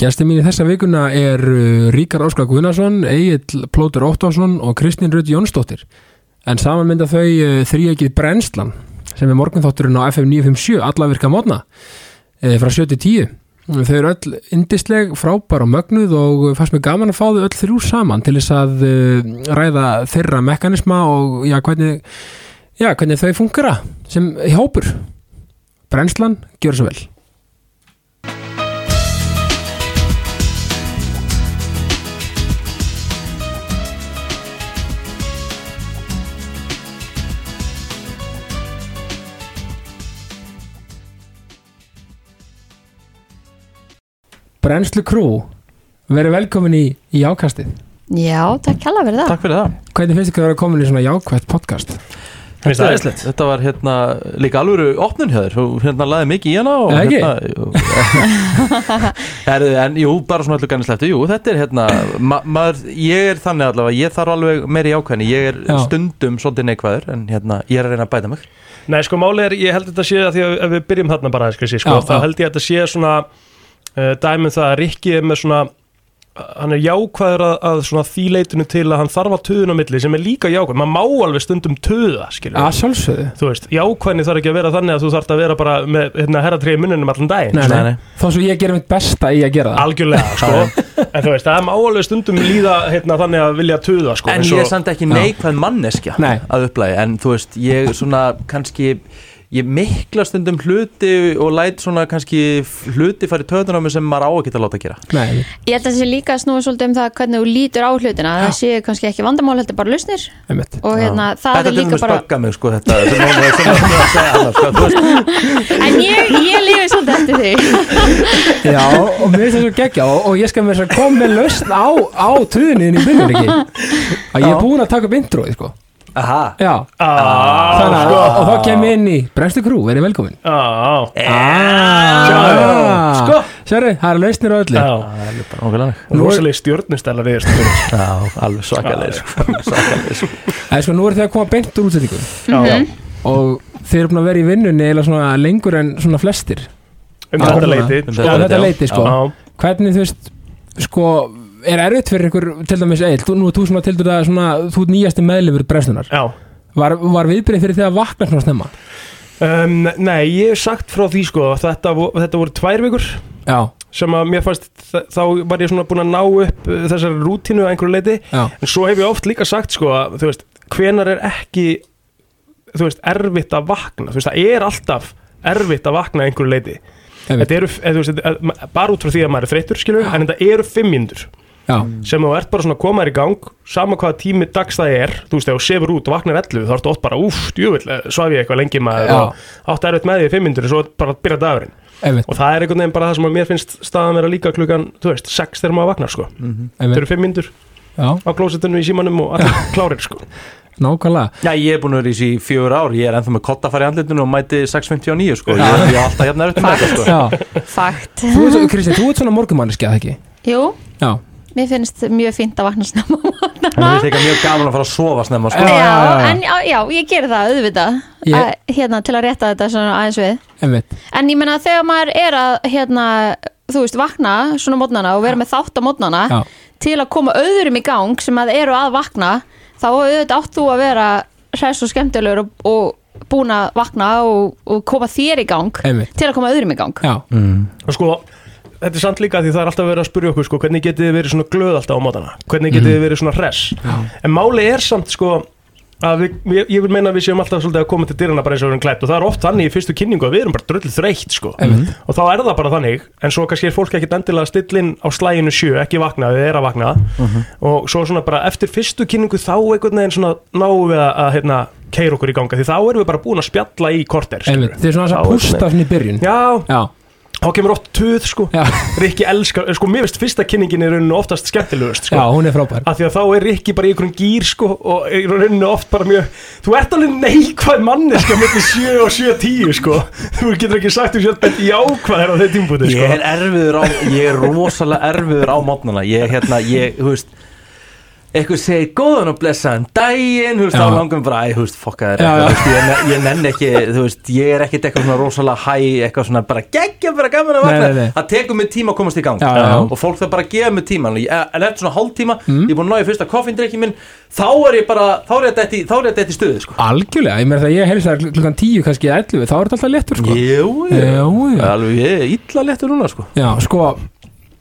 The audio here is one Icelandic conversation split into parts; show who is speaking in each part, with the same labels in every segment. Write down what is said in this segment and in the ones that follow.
Speaker 1: Gæsti mín í þessa vikuna er uh, Ríkar Óskar Guðnason, Egil Plótur Óttásson og Kristín Rutt Jónsdóttir. En saman mynda þau uh, þríegið Brennslan sem er morgunþátturinn á FM 957 allavirka mótna uh, frá 7 til 10. Þau eru öll indisleg, frábær og mögnuð og fannst mér gaman að fá þau öll þrjú saman til þess að uh, ræða þeirra mekanisma og já, hvernig, já, hvernig þau fungera sem hópur. Brennslan, gjör svo vel. Brennslu Crew verið velkomin í, í jákastið
Speaker 2: Já, takk hella fyrir það
Speaker 3: Takk fyrir það
Speaker 1: hvernig finnst ykkur að vera komin í svona jákvætt podcast
Speaker 4: Finnst það æðislegt?
Speaker 3: Þetta var hérna líka alvöru opnun hjá þér Þú hérna laði mikið í hana og
Speaker 1: Eða ekki?
Speaker 3: hérna, er, En jú, bara svona allir gannislegt Jú, þetta er hérna ma maður, Ég er þannig allavega, ég þarf alveg meiri ákveðni Ég er
Speaker 1: Já.
Speaker 3: stundum svolítið neikvæður En hérna, ég er að reyna að bæta mig
Speaker 4: Nei, sko, málið er, ég held þetta sé að því að ef við byrjum þarna bara, sko, sko,
Speaker 1: Já,
Speaker 4: þá
Speaker 1: já.
Speaker 4: held ég að þetta sé svona uh, dæmið það að Rikki er með svona hann er jákvæður að, að svona þýleitinu til að hann þarf að tuðuna milli sem er líka jákvæð, maður má alveg stundum tuða skilur,
Speaker 1: að sjálfsögðu
Speaker 4: þú veist, jákvæðni þarf ekki að vera þannig að þú þarf að vera bara með hérna herratrið í munninum allan daginn
Speaker 1: nei,
Speaker 3: Nei,
Speaker 1: nei.
Speaker 3: nei.
Speaker 1: þó svo ég gerum mitt besta í að gera það
Speaker 4: algjörlega, sko en þú veist, það má alveg stundum líða hérna, þannig að vilja tuða, sko
Speaker 3: En
Speaker 4: eins
Speaker 3: ég
Speaker 4: og-
Speaker 3: er samt ekki
Speaker 1: Já.
Speaker 3: neikvæð manneskja
Speaker 1: Nei.
Speaker 3: að upplægi En þú veist, ég svona kannski Ég mikla stundum hluti og læt svona kannski hluti fara í töðun á mig sem maður á ekki að láta gera
Speaker 1: nei,
Speaker 2: Ég held að það sé líka að snúa svolítið um það hvernig þú lítur á hlutina það séu kannski ekki vandamál, heldur bara lausnir
Speaker 1: einmitt
Speaker 2: og hérna, það
Speaker 3: þetta
Speaker 2: er líka
Speaker 3: dæmis
Speaker 2: bara
Speaker 3: böggar mig sko þetta sem hún er sem hún er að segja annars, sko, þú veist,
Speaker 2: En ég, ég lifi svolítið eftir því
Speaker 1: já, og mér finnst það svo geggja og, og ég skal mér að koma með lausn á, á tuðinni inn í byrjun ekki að ég er
Speaker 3: Já.
Speaker 1: búin að taka upp introið sko
Speaker 3: aha
Speaker 1: já,
Speaker 4: Á,
Speaker 1: þannig að
Speaker 4: sko.
Speaker 1: og, og þá kem ég inn í Brennslu Crew, verið velkomin
Speaker 4: Á, á.
Speaker 1: Ah,
Speaker 4: Sko.
Speaker 1: sérðu, það eru lausnir á öllu
Speaker 4: Já.
Speaker 1: Nú er-
Speaker 4: Rósalegi stjórnistælar í þessu stundum.
Speaker 3: Já, alveg svakalegir sko, svakalegir, sko.
Speaker 1: en sko nú er þið að koma beint úr útsettingu
Speaker 4: Já,
Speaker 2: Mhm.
Speaker 1: og þið eru búin að vera í vinnunni eða svona lengur en svona flestir
Speaker 4: um
Speaker 1: Já.
Speaker 4: þetta
Speaker 1: Já.
Speaker 4: leiti
Speaker 3: Um
Speaker 4: sko.
Speaker 1: Já, þetta
Speaker 3: já.
Speaker 1: leiti sko
Speaker 4: Já.
Speaker 1: Hvernig þú veist, sko Er erfitt fyrir ykkur, til dæmis Eil Þú, nú, þú sem að til dæmis svona, þú ert nýjasti meðlumur bregstunar
Speaker 4: Já.
Speaker 1: Var, var viðbyrðið fyrir því að vakna svona snemma?
Speaker 4: Um, nei, ég hef sagt frá því sko að þetta, vo- þetta voru tvær vikur
Speaker 1: Já,
Speaker 4: sem að mér fannst þ- þá var ég svona búin að ná upp uh, þessari rútínu að einhverju leiti
Speaker 1: já,
Speaker 4: en svo hef ég oft líka sagt sko að þú veist, hvenar er ekki þú veist, erfitt að vakna þú veist, það er alltaf erfitt að vakna að einhverju leiti
Speaker 1: einmitt,
Speaker 4: þetta eru, eða, þú veist, þetta- að- ma- bara út frá því að maður er þreyttur skilur, en þetta eru fimmindur
Speaker 1: já,
Speaker 4: sem þú ert bara svona að koma þér í gang sama hvaða tími dags það er þú veist, þegar þú sefur út og vaknar 11 þá ertu oft bara, úff, djúvill, svaf ég eitthvað lengi maður
Speaker 1: Já.
Speaker 4: og átt erfitt með því í 500 og svo bara byrja dagurinn
Speaker 1: einmitt,
Speaker 4: og það er einhvern veginn bara það sem að mér finnst staðan vera líka klukkan, þú veist, 6 þegar maður vaknar sko. þau
Speaker 1: einmitt
Speaker 4: eru 500
Speaker 1: Já,
Speaker 4: á klósetunum í símanum og allir klárir sko.
Speaker 1: nákvæmlega
Speaker 3: Já, ég er búin að vera í þessi í fjögur ár Ég er ennþá með kotta að fara í andlitinu og mæti 6.59 sko. ég, ég er alltaf hérna upp með þetta sko.
Speaker 1: Já,
Speaker 2: Fakt
Speaker 1: þú veist, Kristi, þú ert svona morgumanniski að ekki?
Speaker 2: Jú,
Speaker 1: Já,
Speaker 2: mér finnst mjög fínt að vakna snemma
Speaker 3: En það er líka mjög gaman að fara að sofa snemma sko.
Speaker 1: Já,
Speaker 2: Já,
Speaker 1: já, já.
Speaker 2: en já, já, ég ger það auðvitað
Speaker 1: Ég-
Speaker 2: að, hérna, til að rétta þetta svona aðeins við
Speaker 1: einmitt
Speaker 2: En ég meina þegar maður er að hérna, þú veist, vakna svona mótnana og vera með þátt á mótnana
Speaker 1: Já.
Speaker 2: til að koma öðrum í gang sem að eru að vakna þá auðvitað átt þú að vera hress og skemmtilegur og, og búin að vakna og, og koma þér í gang
Speaker 1: Einmitt.
Speaker 2: til að koma öðrum í gang
Speaker 1: Já,
Speaker 4: og sko, þetta er sant líka því það er alltaf verið að spyrja okkur sko, hvernig getið þið verið svona glöð alltaf á mótana hvernig getið
Speaker 1: Mhm.
Speaker 4: þið verið svona hress en máli er samt sko að við, ég, ég vil meina að við séum alltaf svolítið að koma til dyrana bara eins og við erum klæpt og það er oft þannig í fyrstu kynningu að við erum bara drullið þreytt sko
Speaker 1: Einmitt.
Speaker 4: og þá er það bara þannig en svo kannski er fólk ekkit endilega að stilla inn á slæginu sjö ekki vakna, við erum að vakna
Speaker 1: Mhm.
Speaker 4: og svo svona bara eftir fyrstu kynningu þá einhvern veginn svona náum við að, að hérna, keira okkur í ganga því þá erum við bara búin að spjalla í korter
Speaker 1: einmitt Þið er svona
Speaker 4: Já,
Speaker 1: að pústa svona í byrjun
Speaker 4: Já,
Speaker 1: Já,
Speaker 4: þá kemur oft töð sko
Speaker 1: Já.
Speaker 4: Rikki elskar, sko mér finnst fyrsta kynningin er rauninu oftast skemmtilegust
Speaker 1: já,
Speaker 4: sko
Speaker 1: hún er frábær
Speaker 4: að því að þá er Rikki bara í einhverjum gýr sko og er rauninu oft bara mjög þú ert alveg neikvæð manneska mellir 7 og 7 10 sko þú getur ekki sagt um sjálf betur jákvæðar á þeim tímpúti sko
Speaker 3: Ég er erfiður á Ég er rosalega erfiður á mótnana Ég, hérna, ég, þú veist eitthvað segir góðan og blessaðan daginn, þú veist,
Speaker 1: Já.
Speaker 3: þá langum bara æ, þú veist, fokka þér
Speaker 1: Já,
Speaker 3: eitthvað,
Speaker 1: já.
Speaker 3: þú veist, ég, ne- ég nenn ekki, þú veist, ég er ekkit eitthvað svona rosalega hæ, eitthvað svona bara geggja bara gaman að
Speaker 1: Nei,
Speaker 3: vakna,
Speaker 1: nei, nei.
Speaker 3: það tekur mig tíma að komast í gang
Speaker 1: Já, já, Mm. já.
Speaker 3: og fólk þarf bara að gefa mig tíma en en eftir svona hálftíma, ég er búin að nája fyrsta koffindrykki minn, þá er ég bara þá er ég að detti, þá er ég að detti stöðu, sko
Speaker 1: Algjörlega, ég meina það ég helst það klukkan 10 kannski 11, þá er þetta alltaf léttur sko
Speaker 3: Jú, jú.
Speaker 1: Jú, jú.
Speaker 3: alveg, ég er illa lettur núna, sko
Speaker 1: Já, sko,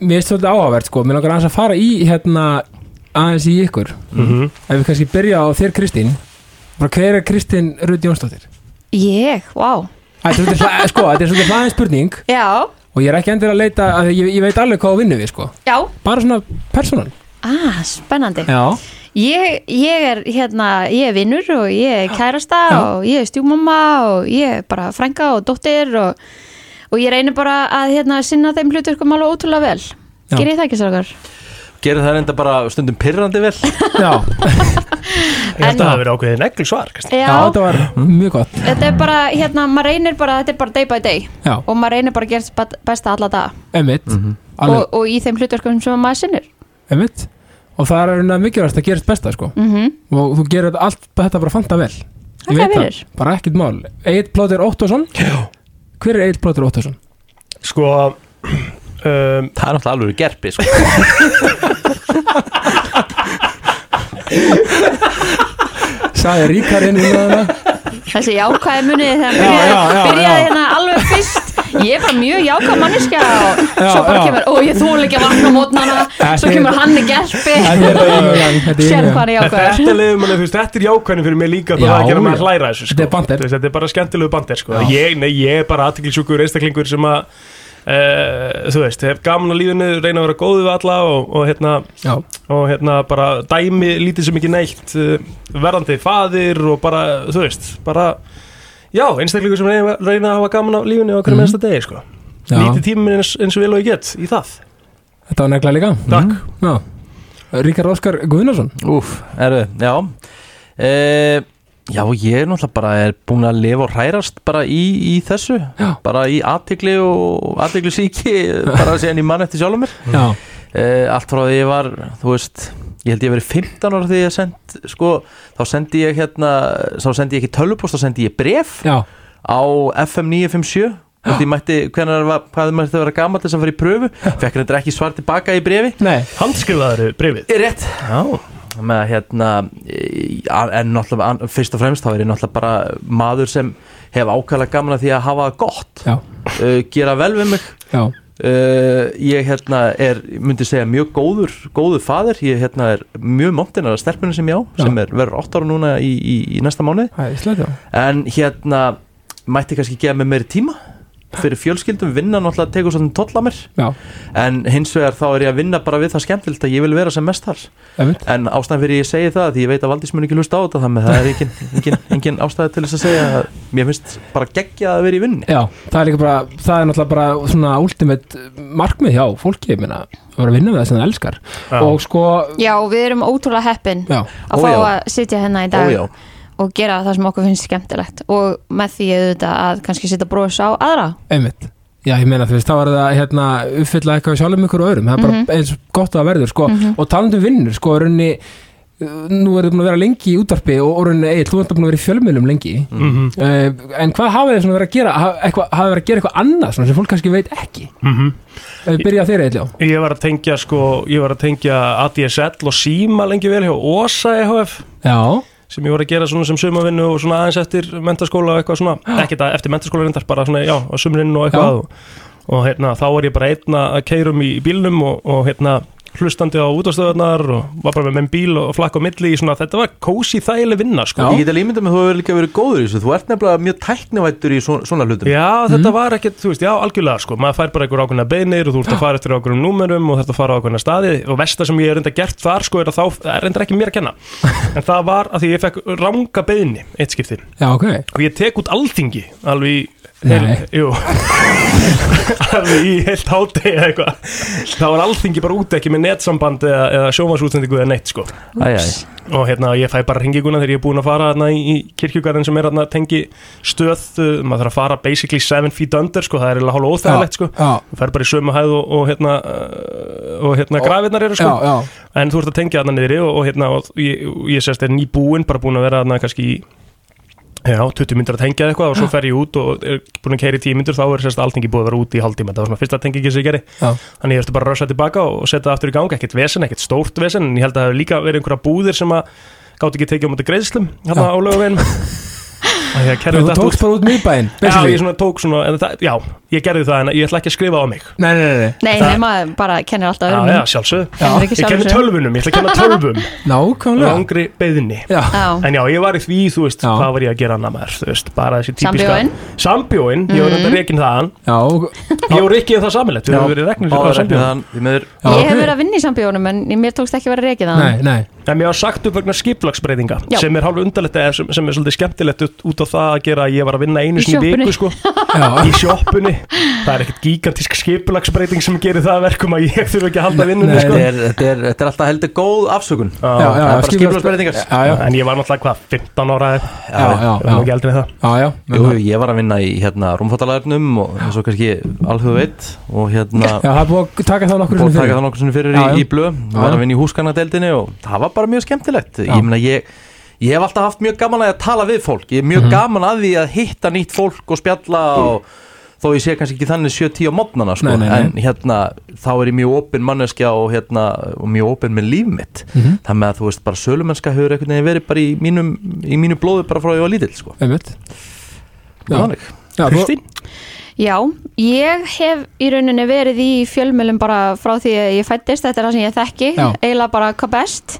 Speaker 1: mér finnst þetta áhugavert sko, mér langar aðeins að fara í hérna aðeins í ykkur ef við kannski byrja á þér Kristín bara hver er Kristín Rut Jónsdóttir?
Speaker 2: Ég, vá
Speaker 1: Æ, þetta er hla- sko, þetta er svolítið hlæðin spurning
Speaker 2: Já,
Speaker 1: og ég er ekki endur að leita, af því ég, ég veit alveg hvað þú vinnum við sko,
Speaker 2: já,
Speaker 1: bara svona persónan
Speaker 2: ah, spennandi
Speaker 1: Já,
Speaker 2: ég, ég er hérna, ég er vinnur og ég er kærasta
Speaker 1: Já.
Speaker 2: og ég er stjúmamma og ég er bara frænga og dóttir og, og ég reynir bara að hérna sinna þeim hluturkum alveg ótrúlega vel
Speaker 1: Já.
Speaker 2: Gerið þið það ekki sér
Speaker 3: gerir það reynda bara stundum pirrandi vel
Speaker 1: já,
Speaker 4: Ég held að það hafi verið ákveðið negl svar
Speaker 2: Já,
Speaker 1: já, þetta var mjög gott
Speaker 2: þetta er bara, hérna, maður reynir bara, þetta er bara day by day
Speaker 1: Já,
Speaker 2: og maður reynir bara að gera sitt bet- besta alla daga
Speaker 1: emmitt
Speaker 2: og,
Speaker 1: alveg,
Speaker 2: og í þeim hluturkum sem maður sinnir
Speaker 1: emmitt og það er unna mikilvægast að gera þetta besta sko
Speaker 2: mm
Speaker 1: og þú gerir þetta allt þetta bara fanta vel Ég
Speaker 2: Þakka
Speaker 1: veit
Speaker 2: fyrir.
Speaker 1: bara ekkert mál Egil Plóter Óttarsson hver er Egil Plóter Óttarsson?
Speaker 4: Sko um,
Speaker 3: það er náttúrulega alveg gerpi, sko
Speaker 1: sagði Ríkar inn í það
Speaker 2: Þessi jákvæði muniði þegar
Speaker 1: Já,
Speaker 2: byrjaði,
Speaker 1: já, já,
Speaker 2: byrjaði
Speaker 1: já.
Speaker 2: hérna alveg fyrst Ég er bara mjög jákvæð manneskja og svo bara
Speaker 1: já.
Speaker 2: kemur, ó ég þól ekki að vakna á mótnana Svo
Speaker 1: Þetta er-
Speaker 2: kemur hann í gerpi
Speaker 1: þetta er hérna yfirgang, þetta er
Speaker 2: Sér
Speaker 1: yfirgang.
Speaker 2: hvað hann er jákvæður
Speaker 4: Þetta leiðum manni, þú veist, þetta er jákvæðin fyrir mig líka bara
Speaker 1: Já,
Speaker 4: að gera
Speaker 1: já.
Speaker 4: maður hlæra þessu sko.
Speaker 1: Þetta er bander.
Speaker 4: Þú veist, Þetta er bara skemmtilegu bandir sko.
Speaker 1: Já.
Speaker 4: ég, nei, ég er bara aðtiklisjúkur einstaklingur sem að Uh, þú veist, hef gaman á lífinu reyna að vera góðu við alla og, og, hérna,
Speaker 1: já,
Speaker 4: og hérna bara dæmi lítið sem ekki neitt uh, verðandi faðir og bara, þú veist bara, já, einstaklingur sem reyna, reyna að hafa gaman á lífinu á
Speaker 1: Mhm.
Speaker 4: hverjum mm. ennsta degi, sko
Speaker 1: Já.
Speaker 4: lítið tíminn eins, eins og vel og ég get í það
Speaker 1: þetta var negla líka Mhm.
Speaker 4: Takk.
Speaker 1: já. Ríkar Óskar Guðnarsson
Speaker 3: Úf, erðu, já e, Já, ég er náttúrulega bara er búin að lifa og hrærast bara í, í þessu
Speaker 1: Já.
Speaker 3: bara í aðtegli og aðtegli síki bara síðan ég mann eftir sjálfum mér
Speaker 1: já,
Speaker 3: e, Allt frá því ég var, þú veist ég held ég verið 15 ára því ég send sko, þá sendi ég hérna þá sendi ég ekki tölvupost, þá sendi ég bref
Speaker 1: já,
Speaker 3: á FM 957 og því mætti, hvernig var, hvað mætti að vera gamall þess að fara í pröfu, fekk hendur ekki svar tilbaka í brefi
Speaker 1: nei
Speaker 4: Handskrifaður brefið
Speaker 3: Er rétt
Speaker 4: Já,
Speaker 3: með að hérna í- a- en náttúrulega an- fyrst og fremst þá er ég náttúrulega bara maður sem hef ákvæmlega gaman að því að hafa það gott
Speaker 1: já,
Speaker 3: uh, gera vel við mig
Speaker 1: já,
Speaker 3: uh, ég hérna er myndi segja mjög góður góður fadir, ég hérna er mjög móntinn af stelpunum sem ég á,
Speaker 1: Já.
Speaker 3: sem er verður 8 ára núna í, í, í næsta mánuði
Speaker 1: það er slætt já
Speaker 3: en hérna mætti kannski gefa mig meiri tíma fyrir fjölskyldum, vinna náttúrulega tegur svona tolla mér
Speaker 1: já,
Speaker 3: en hins vegar þá er ég að vinna bara við það skemmtilegt að ég vil vera sem mest þar
Speaker 1: emmitt
Speaker 3: En ástæðan fyrir ég segi það, því ég veit að Valdís mun ekki hlusta á þetta þannig að það er engin, engin, engin ástæði til þess að segja að mér finnst bara geggja að vera í vinninni.
Speaker 1: Já, það er líka bara, það er náttúrulega bara svona ultimate markmið hjá fólki, ég meina, að vera að vinna með það sem það elskar
Speaker 4: Já.
Speaker 1: og sko,
Speaker 2: Já, við erum ótrúlega heppin
Speaker 1: já,
Speaker 2: að
Speaker 3: Ó,
Speaker 2: fá
Speaker 3: já.
Speaker 2: að sitja hérna í dag
Speaker 3: Ójá,
Speaker 2: og gera það sem okkur finnst skemmtilegt og með því auðvitað að kannski setja bros á aðra
Speaker 1: einmitt Já, ég meina, þú veist, þá var það hérna uppfylla eitthvað sjálfum ykkur og öðrum, það er bara eins gott að það verður, sko, og talandum vinnur, sko, í rauninni, uh, nú erum við búin að vera lengi í útarpi og og í rauninni, eil, þú erum búin að vera í fjölmiðlum lengi,
Speaker 4: mm -hmm.
Speaker 1: uh, en hvað hafið þið svona verið að gera, Ha- eitthvað- hafið verið að gera eitthvað annað, svona sem fólk kannski veit ekki, ef við byrja á þér eitthvað,
Speaker 4: Ég var að tengja sko, ég var að tengja ADSL og síma lengi vel hjá OSA EHF
Speaker 1: já,
Speaker 4: E sem ég var að gera svona sem sumavinnu og svona aðeins eftir mentaskóla og eitthvað svona ekkert að eftir mentaskóla reyndar bara svona já, á sumrinn og eitthvað og, og hérna þá var ég bara einna að keirum í, í bílnum og, og hérna hlustandi á útastöðunar og var bara með minn bíl og flakk á milli í svona þetta var kósi þægileg vinna sko
Speaker 1: Já.
Speaker 3: ég get alveg ímyndað með þú hefur líka verið góður í þessu, þú ert nefnilega mjög tæknivættur í svona, svona hlutum.
Speaker 4: Já, þetta var ekkert, þú veist, já, algjörlega sko maður fær bara einhver ákveðna beinir og þú ert að fara eftir ákveðnum númerum og þarf að fara á ákveðna staði og versta sem ég er reynda gert þar sko er að þá það er reynda ekki mér að kenna en það var að því ég fekk ranga beini eitt skipti
Speaker 1: já, ok,
Speaker 4: og ég tek út alþingi alveg í
Speaker 1: Nei.
Speaker 4: jú alveg í heilt hátegi eða eitthvað þá var alþingi bara út ekki með netsamband eða, eða sjómasútsendingu eða neitt sko
Speaker 3: Æ, æ,
Speaker 4: og hérna ég fæ bara hringinguna þegar ég er búin að fara hérna, í, í kirkjugarðin sem er hérna, tengi stöð, uh, maður þarf að fara basically 7 feet under sko, það er eiginlega hálf
Speaker 1: já,
Speaker 4: óþægilegt sko
Speaker 1: já,
Speaker 4: þú fær bara í sömu hæð og, og hérna uh, og hérna grafirnar eru sko
Speaker 1: já, já,
Speaker 4: en þú ert að tengja þarna niðri og, og hérna og ég, og ég sérst er nýbúinn bara búinn að vera þarna kannski í já, 20 myndir að tengja eða eitthvað og svo fer ég út og er búinn að keira í 10 myndir þá er sérst alltingi búið að vera úti í halvtíma það var svona fyrsta tengingi sem ég gerði
Speaker 1: já.
Speaker 4: þannig ég ertu bara að rösa tilbaka og setja það aftur í gang ekkert vesen, ekkert stórt vesen en ég held að það hefur líka verið einhverja búðir sem að gátt ekki tekið á mútið greiðslum hérna
Speaker 1: Já.
Speaker 4: á lögavegin og ég
Speaker 1: Þú
Speaker 4: kerði þetta
Speaker 1: tókst
Speaker 4: út
Speaker 1: bara út miðbæinn
Speaker 4: Já,
Speaker 1: basically.
Speaker 4: ég svona tók svona, en það, já, ég gerði það en ég ætla ekki að skrifa á mig
Speaker 1: Nei, nei, nei, nei.
Speaker 2: Nei,
Speaker 4: Það-
Speaker 2: nei, maður bara kennir alltaf
Speaker 4: Já,
Speaker 2: öðrum
Speaker 4: já, sjálfsögðu
Speaker 2: Kennir ekki
Speaker 4: Ég
Speaker 2: sjálfum
Speaker 4: kenni
Speaker 2: sér.
Speaker 4: tölvunum, ég ætla að kenna tölvum
Speaker 1: Nákvæmlega
Speaker 4: Langri beðinni
Speaker 1: Já,
Speaker 2: Já,
Speaker 4: En já, ég var í því, þú veist,
Speaker 1: Já.
Speaker 4: hvað var ég að gera annað maður, þú veist, bara þessi típiska
Speaker 2: Sambjóinn.
Speaker 4: Sambjóinn,
Speaker 2: Mhm.
Speaker 4: ég var reynda reygin þaðan
Speaker 1: já, og-
Speaker 4: Ég og Rikki er það samilegt, við höfum verið regnir
Speaker 3: Báðar
Speaker 4: á sambjóinn
Speaker 3: reiknaðan, því miður.
Speaker 1: já,
Speaker 2: ég
Speaker 1: ok.
Speaker 2: hef verið að vinna í sambjónum en mér tókst ekki að vera rekið að
Speaker 1: Nei, nei,
Speaker 4: En mér var sagt upp vegna skiplagsbreytinga
Speaker 2: Já.
Speaker 4: sem er hálf undarlegt eða sem, sem er svolítið skemmtilegt ut- út á það að gera að ég var að vinna
Speaker 2: Í
Speaker 4: einu sinni í viku
Speaker 2: sjoppunni.
Speaker 4: sko,
Speaker 1: já,
Speaker 4: í sjoppunni Það er ekkert gigantísk skiplagsbreyting sem gerir það að verkum að ég þurfa ekki að halda vinnunni
Speaker 1: Nei.
Speaker 4: sko.
Speaker 3: Þetta er, þetta, er, þetta er alltaf heldur góð afsökun
Speaker 4: Já.
Speaker 1: já, já,
Speaker 3: Það er bara
Speaker 1: skipulags-
Speaker 3: skipulagsbreytingar.
Speaker 1: Já, já,
Speaker 4: En ég var náttúrulega hvað, 15 ára eða-
Speaker 1: já, já,
Speaker 4: Ég var nú
Speaker 1: já,
Speaker 4: ekki eldri en það
Speaker 1: já, já,
Speaker 3: Jú, jú, ég var að vinna í hérna rúmfattalæðurnum og eins og kannski alhug veit og hérna
Speaker 1: Já, það er búið að taka það nokkur
Speaker 3: búið að
Speaker 1: sinni
Speaker 3: taka
Speaker 1: fyrir.
Speaker 3: það nokkur sinni fyrir
Speaker 1: Já, já.
Speaker 3: í, í blöð
Speaker 1: Já,
Speaker 3: var
Speaker 1: já.
Speaker 3: að vinna í húsgagnadeildinni og það var bara mjög skemmtilegt
Speaker 1: Já.
Speaker 3: ég meina ég Ég hef alltaf haft mjög gaman að, að tala við fólk Ég er
Speaker 1: Mhm.
Speaker 3: mjög gaman að því að hitta nýtt fólk og spjalla og þó ég sé kannski ekki þannig 7-10 á mótnana sko.
Speaker 1: Mm. Nei, nei, nei.
Speaker 3: en hérna þá er ég mjög opinn manneskja og, hérna, og mjög opinn með líf mitt
Speaker 1: Mhm.
Speaker 3: þannig að þú veist bara sölumennska hefur einhvern veginn verið bara í mínum, í mínu blóðu bara frá ég var lítill sko.
Speaker 1: Einmitt. Já.
Speaker 3: Þannig.
Speaker 1: Já, þú-
Speaker 4: Kristín?
Speaker 2: Já, ég hef í rauninni verið í fjölmjölum bara frá því að ég fættist, þetta er það sem ég þekki,
Speaker 1: Já.
Speaker 2: eiginlega bara hvað best.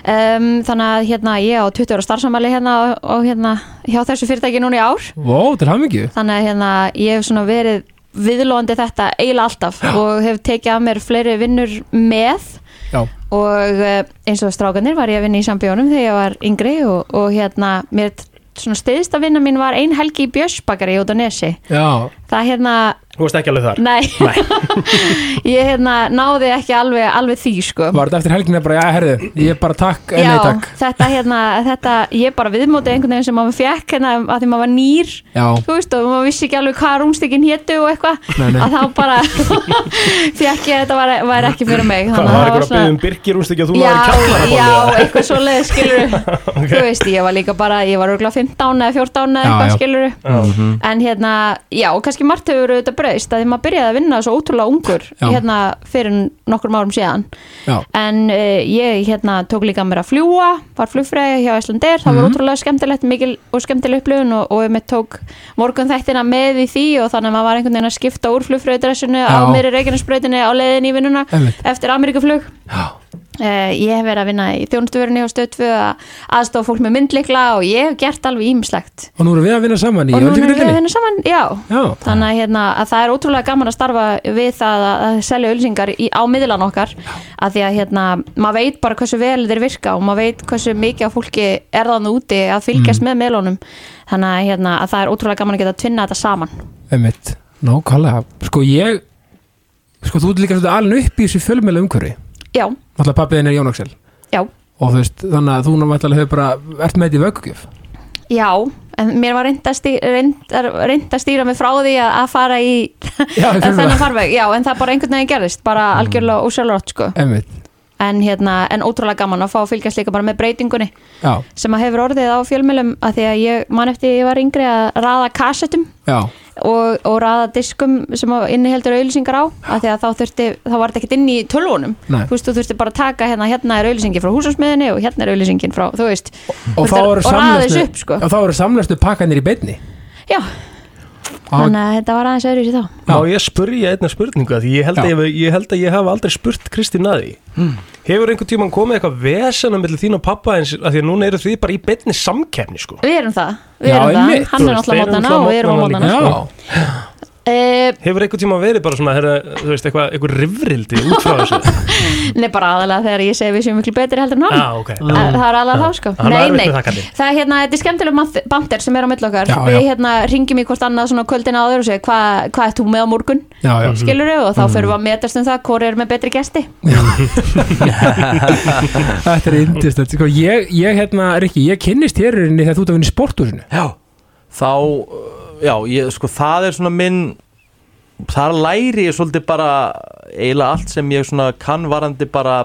Speaker 2: Um, þannig að hérna, ég á 20 ára starfsamæli hérna og, og hérna hjá þessu fyrirtæki núna í ár.
Speaker 1: Vó, til hamingju
Speaker 2: Þannig að hérna, ég hef svona verið viðlóðandi þetta eiginlega alltaf og hef tekið af mér fleiri vinnur með
Speaker 1: Já,
Speaker 2: og eh, eins og strákanir var ég að vinna í sambjónum þegar ég var yngri og, og hérna, mér t- svona stiðist að vinna mín var ein helgi í Björsbakari út á Nesi.
Speaker 1: já,
Speaker 2: Það hérna,
Speaker 4: Þú veist ekki alveg þar
Speaker 2: Nei, ég hérna náði ekki alveg, alveg því sko
Speaker 1: var þetta eftir helgina bara, já, herðu, ég bara takk, en
Speaker 2: Já,
Speaker 1: nei takk
Speaker 2: þetta hérna, þetta, ég bara viðmóti einhvern veginn sem maður fekk hérna að því maður var nýr
Speaker 1: Já,
Speaker 2: þú veist og maður vissi ekki alveg hvað rúmstykkin hétu og
Speaker 1: Nei,
Speaker 2: eitthvað
Speaker 1: nei.
Speaker 2: að þá bara fekk ég að þetta var, var ekki fyrir mig
Speaker 4: Hvað,
Speaker 2: að
Speaker 4: það er eitthvað að byggja um Birgir úrst ekki að þú náður kjallara
Speaker 2: Já, já, eitthvað svo leið skilur þú veist, ég var líka bara, ég var örgulega 15 eða 14
Speaker 1: Já,
Speaker 2: eða
Speaker 1: já.
Speaker 2: eitthvað skilur en hérna, já, og kannski margt hefur auðvitað breyst að því maður byrjaði að vinna svo ótrúlega ungur
Speaker 1: Já.
Speaker 2: hérna fyrir nokkrum árum síðan
Speaker 1: já,
Speaker 2: en uh, ég hérna tók líka mér að fljúa var flugfræði hjá Íslandir, það var
Speaker 1: Mhm.
Speaker 2: ótrúlega skemmtilegt mikil og skemmtileg upplifun og, og ég tók morgun þættina með í því og þannig að maður var einhvern veginn að skipta úr flugfræðidressinu á
Speaker 1: Já.
Speaker 2: meiri reikinnsbreytinu á leiðin í vinnuna
Speaker 1: Einmitt.
Speaker 2: eftir Ameríkaflug
Speaker 1: já,
Speaker 2: Uh, ég hef verið að vinna í þjónustuvörunni og stöð 2 að aðstofa fólk með myndleikla og ég hef gert alveg ímislegt
Speaker 1: og nú erum við að vinna saman í Ah.
Speaker 2: og núna erum við að
Speaker 1: öldingadeildinni
Speaker 2: vinna saman, já
Speaker 1: Já,
Speaker 2: þannig að, hérna, að það er ótrúlega gaman að starfa við það að, að selja ölsingar í, á miðlan okkar að því að hérna, maður veit bara hversu vel þeir virka og maður veit hversu mikið af fólki er þannig úti að fylgjast með miðlunum þannig að, hérna, að það er ótrúlega gaman að geta að tvinna þetta saman
Speaker 1: einmitt, nákvæmlega Sko, ég, sko, þú ert líka svolítið alveg upp í þessu fjölmjölu umhverfi
Speaker 2: já,
Speaker 1: Náttúrulega pappiðin er Jón Axel
Speaker 2: já,
Speaker 1: Og þú veist, þannig að þú náttúrulega hefur bara ert með þetta í vöggugjöf
Speaker 2: já en mér var reynd að, stý, reynd, reynd að stýra mig frá því að, að fara í
Speaker 1: Já, í fjölmiðla.
Speaker 2: þennan farveg, já, en það bara einhvern veginn gerðist bara
Speaker 1: Mm.
Speaker 2: algjörlega ósjálfrátt sko
Speaker 1: Einmitt,
Speaker 2: en, hérna, en ótrúlega gaman að fá að fylgjast líka bara með breytingunni
Speaker 1: já,
Speaker 2: sem að hefur orðið á fjölmjölum að því að ég man eftir ég var yngri að raða kassettum
Speaker 1: já,
Speaker 2: og, og raða diskum sem að inniheldur auðlýsingar á að því að þá þurfti, þá var þetta ekkert inn í tölvunum
Speaker 1: Nei.
Speaker 2: þú veist, þú þurfti bara að taka hérna, hérna er auðlýsingi frá húsasmiðinni og hérna er auðlýsingin frá, þú veist
Speaker 1: og þá eru
Speaker 2: og raða þessu
Speaker 1: samlæstu
Speaker 2: upp, sko
Speaker 1: og þá eru samlæstu pakkanir í beinni
Speaker 2: já,
Speaker 1: og
Speaker 2: þannig að þetta var aðeins öðru sér þá
Speaker 4: Má ég spurja einna spurningu að því ég held,
Speaker 1: Já. Hmm.
Speaker 4: að ég, ég held að ég hafa aldrei spurt Kristín að því Hefur einhvern tímann komið eitthvað vesena millir þín og pappa eins að því að núna eru þið bara í beinni samkeppni sko
Speaker 2: við erum það, við
Speaker 1: Já,
Speaker 2: erum það,
Speaker 1: einmitt,
Speaker 2: hann
Speaker 4: þú
Speaker 2: er
Speaker 4: veist,
Speaker 2: náttúrulega
Speaker 4: þeir eru
Speaker 2: mótana og við erum á
Speaker 4: náttúrulega
Speaker 2: mótana sko.
Speaker 1: já,
Speaker 2: Eh,
Speaker 4: Hefur einhvern tímann verið bara svona herra, þú veist, eitthvað, eitthvað rifrildi út frá þessu
Speaker 2: Nei, bara aðalega þegar ég segi við séum miklu betri heldur en hann
Speaker 4: ah, okay.
Speaker 2: Þa-
Speaker 1: Mm.
Speaker 2: Það er alveg þá sko
Speaker 4: Já, hann var erfitt með það, Katrín.
Speaker 2: Það er hérna, þetta er skemmtileg bandir sem er á milli okkar
Speaker 1: Já,
Speaker 2: Við
Speaker 1: já.
Speaker 2: hérna ringjum í hvort annað svona kvöldin áður og segja hvað hva ert þú með á morgun
Speaker 1: já,
Speaker 4: Mhm.
Speaker 1: já,
Speaker 2: skilur við og þá
Speaker 1: Mhm.
Speaker 2: fyrir við að metast um það hvori er með betri gesti
Speaker 1: Þetta er yndist sko, ég, ég, hérna, Rikki, ég kynnist þér í rauninni þegar þú ert að vinna í sporthúsinu
Speaker 3: Já, þá, uh, já, ég, sko, það er svona minn þar læri ég svolítið bara eiginlega allt sem ég svona kannvarandi bara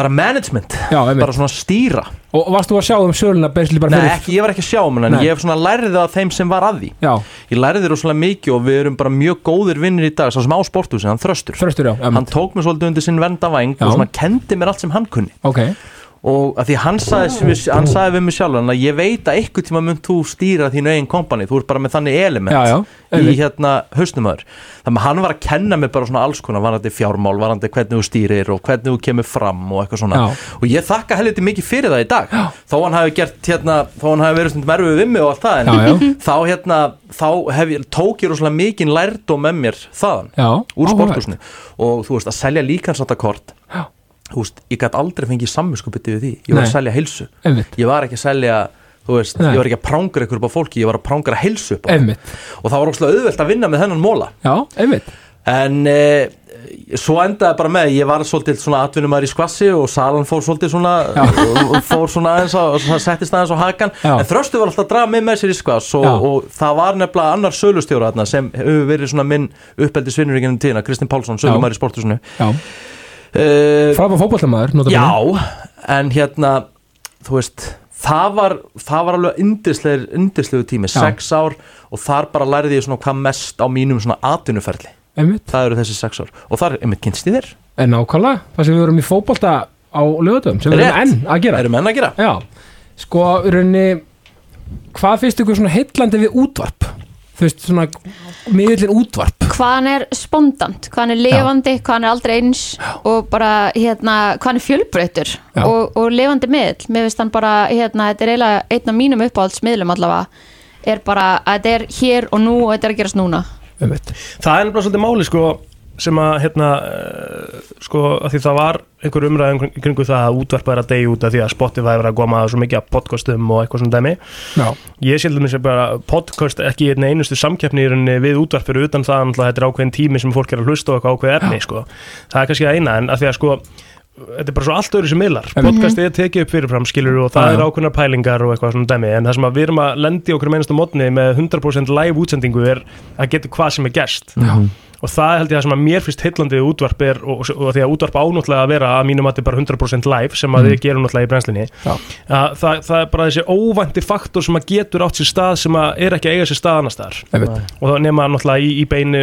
Speaker 3: bara management,
Speaker 1: Já, einmitt.
Speaker 3: bara svona stýra
Speaker 1: Og varst þú að sjá um söluna basically bara
Speaker 3: Nei,
Speaker 1: fyrir?
Speaker 3: ekki, ég var ekki að sjá um hann en
Speaker 1: Nei.
Speaker 3: ég hef svona lærið það af þeim sem var að því
Speaker 1: Já,
Speaker 3: ég lærið þér rosalega mikið og við erum bara mjög góðir vinnir í dag, sá sem á sporthúsi, hann þröstur
Speaker 1: þröstur já,
Speaker 3: hann
Speaker 1: emmitt
Speaker 3: tók mér svolítið undir sinn vendavæng
Speaker 1: Já.
Speaker 3: og svona kendi mér allt sem hann kunni
Speaker 1: Ok,
Speaker 3: og að því hann sagði, við, hann sagði við mig sjálfan að ég veit að ykkur tíma mun þú stýra þínu eigin kompani, þú ert bara með þannig element
Speaker 1: Já, já,
Speaker 3: í
Speaker 1: einmitt.
Speaker 3: hérna hausnumöður þannig að hann var að kenna mig bara svona alls konar varandi fjármál, varandi hvernig þú stýrir og hvernig þú kemur fram og eitthvað svona
Speaker 1: Já.
Speaker 3: og ég þakka helviti mikið fyrir það í dag já. þó hann hafi gert hérna, þó hann hafi verið stundum erfið við mig og allt það en
Speaker 1: Já, já.
Speaker 3: þá hérna, þá hef ég, tók ég rosalega mikið lærdóm með mér þaðan
Speaker 1: já
Speaker 3: úr
Speaker 1: áhugavert.
Speaker 3: sporthúsinu og þú veist að selja líkansáttakort
Speaker 1: Já.
Speaker 3: þú veist, ég gæti aldrei fengið samvinskupið við því, ég var
Speaker 1: Nei.
Speaker 3: að selja heilsu
Speaker 1: Einmitt,
Speaker 3: ég var ekki að selja, þú veist
Speaker 1: Nei.
Speaker 3: ég var ekki að prángra ykkur upp á fólki, ég var að prángra heilsu upp á fólki.
Speaker 1: einmitt
Speaker 3: og það var óslega auðvelt að vinna með þennan móla
Speaker 1: Já, einmitt
Speaker 3: en e, svo endaði bara með ég var svolítið svona atvinnumæður í skvassi og salan fór svolítið svona og- og fór svona aðeins á, svona settist aðeins á hakan
Speaker 1: Já.
Speaker 3: en þröstu var alltaf að draga mig með sér í skvass og,
Speaker 1: Já.
Speaker 3: og það var nefnilega annar sölustjóra þarna sem hefur verið svona minn uppeldisvinnur í gennum tíðina, Kristinn Pálsson, sölumæður í sportusinu
Speaker 1: Já,
Speaker 3: uh,
Speaker 1: frábæð fótbollamæður, nota
Speaker 3: Já,
Speaker 1: bene.
Speaker 3: en hérna þú veist, það var það var alveg yndislegur, yndislegur tími
Speaker 1: Já.
Speaker 3: sex ár og þar bara lærði ég svona hvað mest á mínum svona atvinnuferli
Speaker 1: Einmitt
Speaker 3: það eru þessi sex ár og þar, einmitt, kynst ég þér
Speaker 1: En nákvæmlega, það sem við vorum í fótbolta á lögatum sem við erum enn
Speaker 3: Rétt.
Speaker 1: að gera
Speaker 3: erum enn að gera
Speaker 1: Já, sko, í rauninni hvað finnst ykkur svona heitlandi við útvarp? Þú veist, svona miðlinn útvarp
Speaker 2: hvaðan er spondant, hvaðan er levandi hvaðan er aldrei eins og bara hérna, hvaðan er fjölbreytur
Speaker 1: Já.
Speaker 2: og, og levandi miðl, mér finnst hann bara hérna, þetta er eiginlega einn af mínum uppáhaldsmiðlum allavega, er bara að þetta er hér og nú og þetta er að gerast núna
Speaker 1: Einmitt.
Speaker 4: Það er nefnilega svolítið máli sko sem að hérna eh, sko að því það var einhver umræðum kringu það að útvarpa er að deyja út af því að Spotify var að koma að svo mikið að podcastum og eitthvað svona dæmi
Speaker 1: Já,
Speaker 4: ég sé til mér sem bara podcast ekki í einni einustu samkeppni í rauninni við útvarp fyrir utan það að þetta er ákveðin tími sem fólk er að hlusta og eitthvað ákveðið efni sko það er kannski að eina en að því að sko þetta er bara svo allt öðru sem miðlar
Speaker 1: Einmitt.
Speaker 4: podcastið er tekið upp fyrirfram skilur og
Speaker 1: Já,
Speaker 4: það
Speaker 1: já.
Speaker 4: er ákveðnar pælingar og eitthvað svona dæmi en það sem að við erum að lendi okkur mennast á mótni með 100% live útsendingu er að geta hvað sem er gest
Speaker 1: já,
Speaker 4: og það held ég það sem að mér finnst heillandi við útvarp er og, og, og því að útvarp ánáttúrulega að vera að mínum að þetta er bara 100% live sem
Speaker 1: Mm.
Speaker 4: að við gerum náttúrulega í brennslinni
Speaker 1: já,
Speaker 4: að það, það er bara þessi óvænti faktor sem að getur átt sér stað sem að er ekki að eiga sér stað annars staðar
Speaker 1: einmitt
Speaker 4: og það nema náttúrulega í, í beinu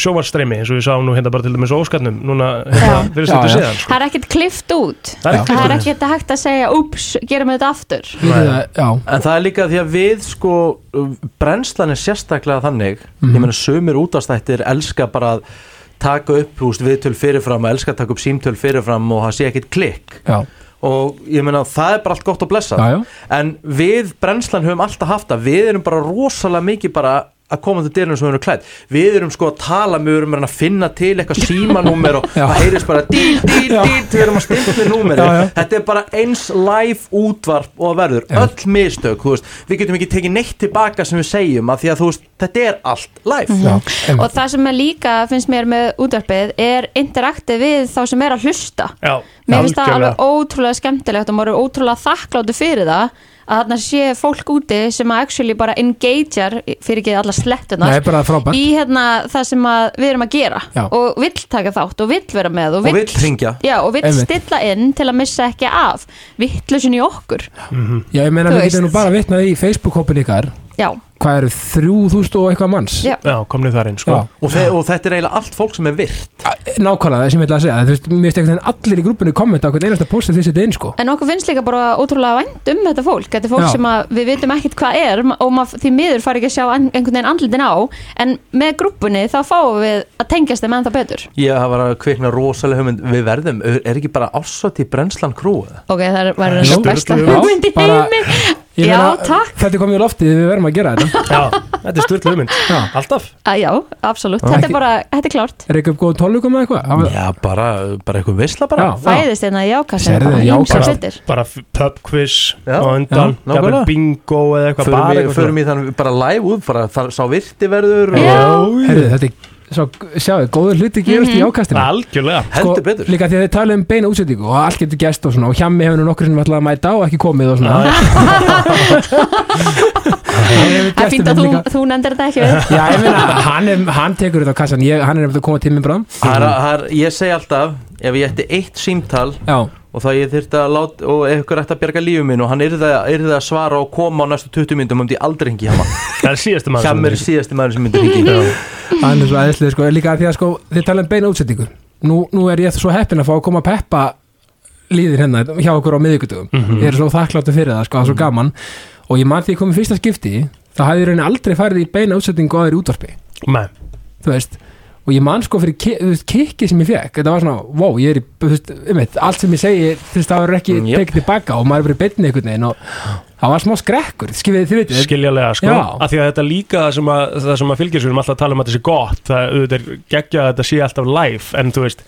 Speaker 4: sjóvarstreimi eins og við sáum nú hérna bara til dæmis á óskarnum núna hérna,
Speaker 2: Já.
Speaker 4: fyrir
Speaker 1: Já,
Speaker 4: stundu
Speaker 1: já.
Speaker 4: síðan
Speaker 2: það er ekkert klift út
Speaker 4: Það
Speaker 2: það er
Speaker 4: er ekkert klippt út.
Speaker 2: ekkert hægt að segja ups, gerum við þetta aftur
Speaker 1: Vitið það, Já,
Speaker 3: En það er líka því að við sko brennslan er sérstaklega þannig
Speaker 1: Mhm.
Speaker 3: ég meina sömur útastættir elska bara að taka upp húst viðtöl fyrirfram og elska að taka upp símtöl fyrirfram og það sé ekkit klikk
Speaker 1: já,
Speaker 3: og ég meina það er bara allt gott að blessa
Speaker 1: Já, já.
Speaker 3: en við brennslan höfum alltaf haft að við erum bara rosalega mikið bara að koma til dyrunum sem við erum klætt við erum sko að tala, við erum að finna til eitthvað símanúmer og
Speaker 1: Já.
Speaker 3: það heyrist bara dýl, dýl,
Speaker 1: Já.
Speaker 3: dýl, við erum að stimpla númeri
Speaker 1: Já, já.
Speaker 3: þetta er bara eins live útvarp og það verður, öll mistök þú veist, við getum ekki tekið neitt tilbaka sem við segjum að því að þú veist, þetta er allt live
Speaker 1: já
Speaker 2: og
Speaker 1: einmitt.
Speaker 2: það sem er líka finnst mér með útvarpið er interaktið við þá sem er að hlusta
Speaker 4: Já,
Speaker 2: Mér finnst það
Speaker 4: algjörlega.
Speaker 2: alveg ótrúlega skemmtilegt og maður er ótrúlega þakkláttu fyrir það að þarna sé fólk úti sem að actually bara engagear fyrir ekki alla slettunar
Speaker 1: Nei, bara frábært.
Speaker 2: í hérna það sem að við erum að gera
Speaker 1: Já.
Speaker 2: og vill taka þátt og vill vera með og
Speaker 3: Og
Speaker 2: vill,
Speaker 3: vill hringja.
Speaker 2: já, og vill
Speaker 1: Einmitt.
Speaker 2: stilla inn til að missa ekki af vittlusin í okkur
Speaker 1: Já, ég meina
Speaker 2: Þú
Speaker 1: við getum nú
Speaker 2: veist.
Speaker 1: bara vitnað í Facebook-hópin ykkar
Speaker 2: já,
Speaker 1: hvað eru 3000 og eitthvað manns
Speaker 2: Já.
Speaker 4: Já, komnið þar inn sko
Speaker 1: Já.
Speaker 3: og, þe og þetta er eiginlega allt fólk sem er virt
Speaker 1: Nákvæmlega, það sem ég ætla að segja Þú veist, mér finnst einhvern veginn allir í grúpunni kommenta á hvern einasta post sem þið setja inn, sko
Speaker 2: en okkur finnst líka bara ótrúlega vænt um þetta fólk þetta er fólk
Speaker 1: Já.
Speaker 2: sem að við vitum ekkit hvað er ma- og mað, því miður fari ekki að sjá an- einhvern veginn andlitin á en með grúppunni þá fáum við að tengjast þeim ennþá betur
Speaker 3: Ég hafa verið að kvikna rosalega hugmynd Við verðum, er ekki bara ársat í brennslan krúið?
Speaker 2: Ok, það er- var
Speaker 1: Já.
Speaker 2: það besta
Speaker 4: Sturlu.
Speaker 2: hugmynd í
Speaker 1: Já, bara-
Speaker 2: heimi
Speaker 1: Ég
Speaker 2: Já,
Speaker 1: meina,
Speaker 2: takk
Speaker 1: Þetta kom í loftið, við verðum að gera þetta
Speaker 4: Já, þetta er styrlu hugmynd Alltaf
Speaker 2: Að Já, absolutt, þetta er
Speaker 1: Ekki-
Speaker 2: bara, þetta er klárt
Speaker 1: Er eitthvað góð tónleikum eða eitthvað? Það var-
Speaker 3: Já, bara, bara eitthvað veisla
Speaker 1: Já,
Speaker 3: bara
Speaker 1: já.
Speaker 2: Fæðist hérna í
Speaker 1: Sérðu,
Speaker 2: ákassin
Speaker 1: já,
Speaker 2: Ímsar
Speaker 1: bara-
Speaker 2: hlutir
Speaker 4: Bara f- pub quiz
Speaker 3: Já,
Speaker 4: og
Speaker 3: já,
Speaker 4: undan jafnvel
Speaker 3: nákvæmlega.
Speaker 4: Bingo eða eitthvað
Speaker 3: Förum
Speaker 4: bara
Speaker 3: í,
Speaker 4: eitthvað
Speaker 3: förum í þannig bara live út bara, þar, Sá virti verður
Speaker 2: Já.
Speaker 3: og,
Speaker 1: Herðu, þetta er svo, sjáðu, góður
Speaker 2: Mhm.
Speaker 1: hluti gerast í ákastinu Sko,
Speaker 4: Algjörlega
Speaker 3: heldur betur
Speaker 1: Líka því að þið tala um beina útsendingu og allt getur gæst og svona og hjammi hefur nú nokkur sem ætlaði að mæta og ekki komið og svona
Speaker 2: Það er fínt að þú, þú nefndir þetta ekki við
Speaker 1: Já, ég meina, hann, er, hann tekur þetta á kassan, ég, hann er eftir að koma til minn bráðum
Speaker 3: Har, har, ég segi alltaf, ef ég ætti eitt símtal
Speaker 1: Já,
Speaker 3: og það ég þyrfti að láta og ef ykkur ætti að bjarga lífið minn og hann yrði að, yrði að svara og koma á næstu 20 myndum myndi ég aldrei hengi hjá hann
Speaker 4: Það er síðastu maður
Speaker 3: hjá
Speaker 4: sem
Speaker 3: mér er
Speaker 4: er-
Speaker 3: síðasti maður sem myndi hengi
Speaker 1: hann er svo aðeinslega sko, líka því að sko, þið tala um beina útsendingu nú, nú er ég svo heppin að fá að koma að peppa líðir hennar hjá okkur á miðvikudögum ég er svo þakkláttu fyrir það, sko, það er svo gaman og ég man því að komið fyrsta skipti það hafði reyni aldrei farið í beina útsendingu á þeirri útvarpi
Speaker 4: Nei,
Speaker 1: þú veist og ég man sko fyrir ki- þú veist, kikki sem ég fekk þetta var svona, wow, ég er í þú veist, um allt sem ég segi, þú veist, það var ekki
Speaker 3: Mm,
Speaker 1: mm,
Speaker 3: jöp.
Speaker 1: tekið tilbaka og maður er verið beinni einhvern veginn og það var smá skrekkur, skilvið þið vitið
Speaker 4: skiljalega sko
Speaker 1: Já.
Speaker 4: Af því að þetta líka það sem að, það sem að fylgjur sem alltaf að tala um að þetta sé gott Það auðvitað er geggja að þetta sé alltaf live En þú veist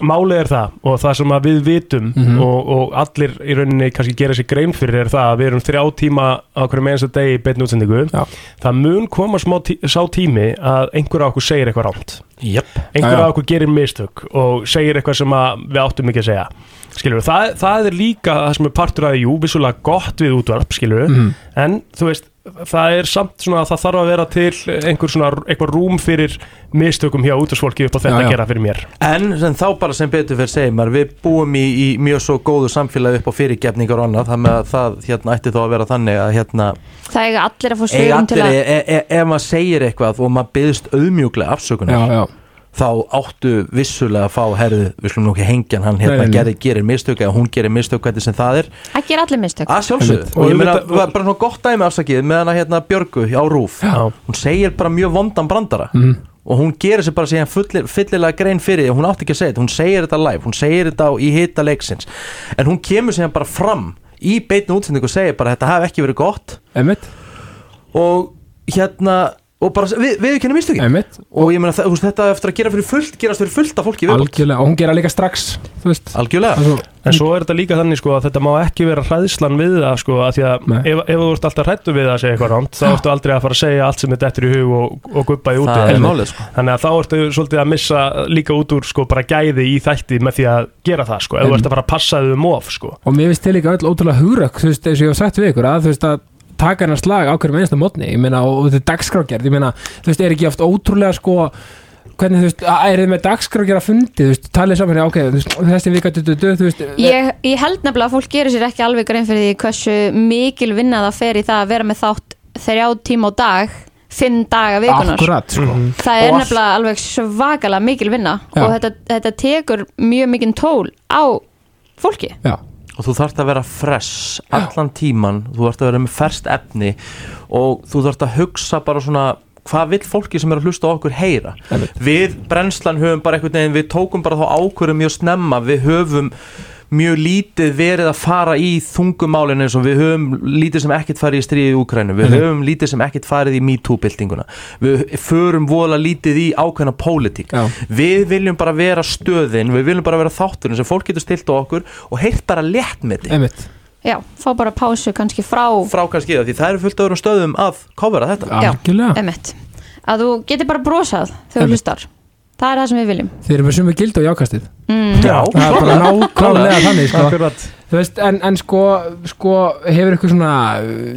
Speaker 4: Málið er það og það sem að við vitum
Speaker 1: Mhm.
Speaker 4: og, og allir í rauninni kannski gera sér grein fyrir er það að við erum þrjá tíma á hverjum eins og degi í beinni útsendingu
Speaker 1: Já.
Speaker 4: það mun koma smá tí sá tími að einhver á okkur segir eitthvað rámt
Speaker 3: Jöp
Speaker 4: einhver
Speaker 1: Já, já.
Speaker 4: á okkur gerir mistök og segir eitthvað sem að við áttum ekki að segja skilur, það, það er líka það sem er partur að jú, vissulega gott við útvarp skilur,
Speaker 1: Mhm.
Speaker 4: en þú veist það er samt svona að það þarf að vera til einhver svona, eitthvað rúm fyrir mistökum hjá útvarsfólki upp á þetta
Speaker 1: Já, já.
Speaker 4: að gera fyrir mér
Speaker 3: En sem þá bara sem betur fyrir segir maður, við búum í, í mjög svo góðu samfélagi upp á fyrirgefningar og annað, þannig að það hérna ætti þá að vera þannig að hérna,
Speaker 2: Það eiga allir að fá
Speaker 3: eiga
Speaker 2: svörum til
Speaker 3: allir,
Speaker 2: að
Speaker 3: e, e, e, ef maður segir eitthvað og maður byggðist auðmjúklega
Speaker 1: já,
Speaker 3: afsökunar,
Speaker 1: já,
Speaker 3: þá áttu vissulega að fá herðu, við slum nú ekki hengjan hann hérna,
Speaker 1: Nei, nei, nei.
Speaker 3: Gerði, gerir mistök eða hún gerir mistök hvernig sem það er,
Speaker 2: Ekki er allir mistök
Speaker 3: að sjálfsögðu,
Speaker 1: Einmitt.
Speaker 3: og
Speaker 4: Og
Speaker 3: ég meina,
Speaker 4: auðvitað-
Speaker 3: var bara svona gott dæmi afsakið með hana hérna Björgu á Rúf,
Speaker 4: Já.
Speaker 3: hún segir bara mjög vondan brandara
Speaker 1: Mhm.
Speaker 3: og hún gerir sér bara síðan fullir, fullilega grein fyrir því, hún átti ekki að segja þetta, hún segir þetta live, hún segir þetta á- í hita leiksins en hún kemur síðan bara fram í beitni útsendingu og segir bara þetta hafi ekki verið gott
Speaker 1: einmitt,
Speaker 3: og hérna og bara við, við kennum mistökin
Speaker 1: einmitt
Speaker 3: og ég meina þa- þú veist, þetta á eftir að gera fyrir fullt, gerast fyrir fullt af fólki í viðbót.
Speaker 1: algjörlega, og hún gera líka strax þú veist,
Speaker 3: algjörlega
Speaker 1: það er
Speaker 4: En
Speaker 1: Ah, svo
Speaker 4: svo er þetta líka þannig sko að þetta má ekki vera hræðslan við það sko að því að
Speaker 1: Nei.
Speaker 4: ef, ef þú ert alltaf hrættu við það að segja eitthvað rámt þá ertu aldrei að fara að segja allt sem þetta eftir í hug og, og guppa í úti
Speaker 3: það er málið sko
Speaker 4: Þannig að þá ertu svolítið að missa líka út úr sko bara gæði í þætti með því að gera það sko, ef þú
Speaker 1: Mm.
Speaker 4: ert að fara að passa þau um of sko.
Speaker 1: og mér finnst til líka öll ótrúlega hugrökk þú veist, eins og ég hef sagt við ykkur að þú veist að taka hennar slag á hverjum einasta mótni ég meina, og, og þetta er dagskrágerð, ég meina þú veist, er ekki oft ótrúlega sko hvernig þú veist, að- er þið með dagskrágerð að fundi þú veist, talið saman, já, ok, þú veist, þessi vika du, du, du, þú veist,
Speaker 2: ég, ég held nefnilega að fólk gerir sér ekki alveg grein fyrir því hversu mikil vinna það fer í það að vera með þátt þrjá tíma á dag fimm daga vikunar
Speaker 1: akkurat sko.
Speaker 2: það er
Speaker 3: Og allt-
Speaker 2: nefnilega alveg svakalega mikil vinna
Speaker 1: Já.
Speaker 2: og þetta, þetta tekur mjög mikinn tól á fólki
Speaker 1: já,
Speaker 3: og þú þarft að vera fresh allan tíman, þú þarft að vera með ferskt efni og þú þarft að hugsa bara svona hvað vill fólki sem er að hlusta á okkur heyra
Speaker 1: Einmitt.
Speaker 3: við brennslan höfum bara einhvern veginn við tókum bara þá ákvörðum mjög snemma við höfum mjög lítið verið að fara í þungumálinu eins og við höfum lítið sem ekkert farið í stríðið í Úkrænu, við höfum lítið sem ekkert farið í MeToo-byltinguna, við förum vola lítið í ákveðna pólitík
Speaker 1: Já.
Speaker 3: við viljum bara vera stöðin við viljum bara vera þátturinn sem fólk getur stilt á okkur og heyrt bara létt með þig
Speaker 1: einmitt
Speaker 2: já, fá bara pásu kannski frá
Speaker 3: frá kannski það, því það eru fullt öðrum stöðum að covera þetta
Speaker 2: Já,
Speaker 1: algjörlega,
Speaker 2: emitt að þú getur bara brosað þegar þú
Speaker 1: Einmitt.
Speaker 2: hlustar það er það sem við viljum
Speaker 1: þeir eru með sumu gildu og jákastið
Speaker 3: Já,
Speaker 1: það er bara nákvæmlega þannig sko.
Speaker 4: Akkurat.
Speaker 1: Þú veist, en, en sko, sko hefur ykkur svona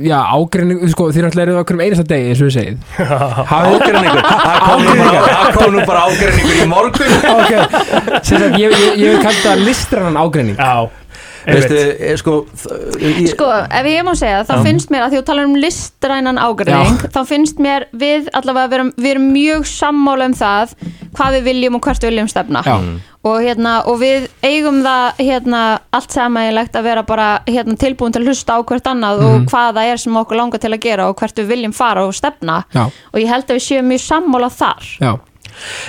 Speaker 1: já, ágreining, sko, þið náttúrulega eruð okkur um einasta degi eins og við segið Hafið-
Speaker 3: ágreiningur, það kom nú bara- það kom nú bara ágreiningur í morgun
Speaker 1: ok, sem sagt, ég, ég, ég vil kalla það listrannan ágreining
Speaker 4: Já,
Speaker 3: Veistu,
Speaker 4: einmitt.
Speaker 3: eh, sko, þ- ég,
Speaker 2: sko, ef ég má segja, þá finnst mér að því þú talar um listrænan ágreining, þá finnst mér við allavega, við erum, við erum mjög sammála um það, hvað við viljum og hvert við viljum stefna
Speaker 1: Já.
Speaker 2: og, hérna, og við eigum það hérna, allt samægilegt að vera bara hérna, tilbúin til að hlusta á hvert annað
Speaker 1: Mhm.
Speaker 2: og hvað það er sem okkur langar til að gera og hvert við viljum fara og stefna
Speaker 1: Já.
Speaker 2: og ég held að við séum mjög sammála þar
Speaker 1: Já,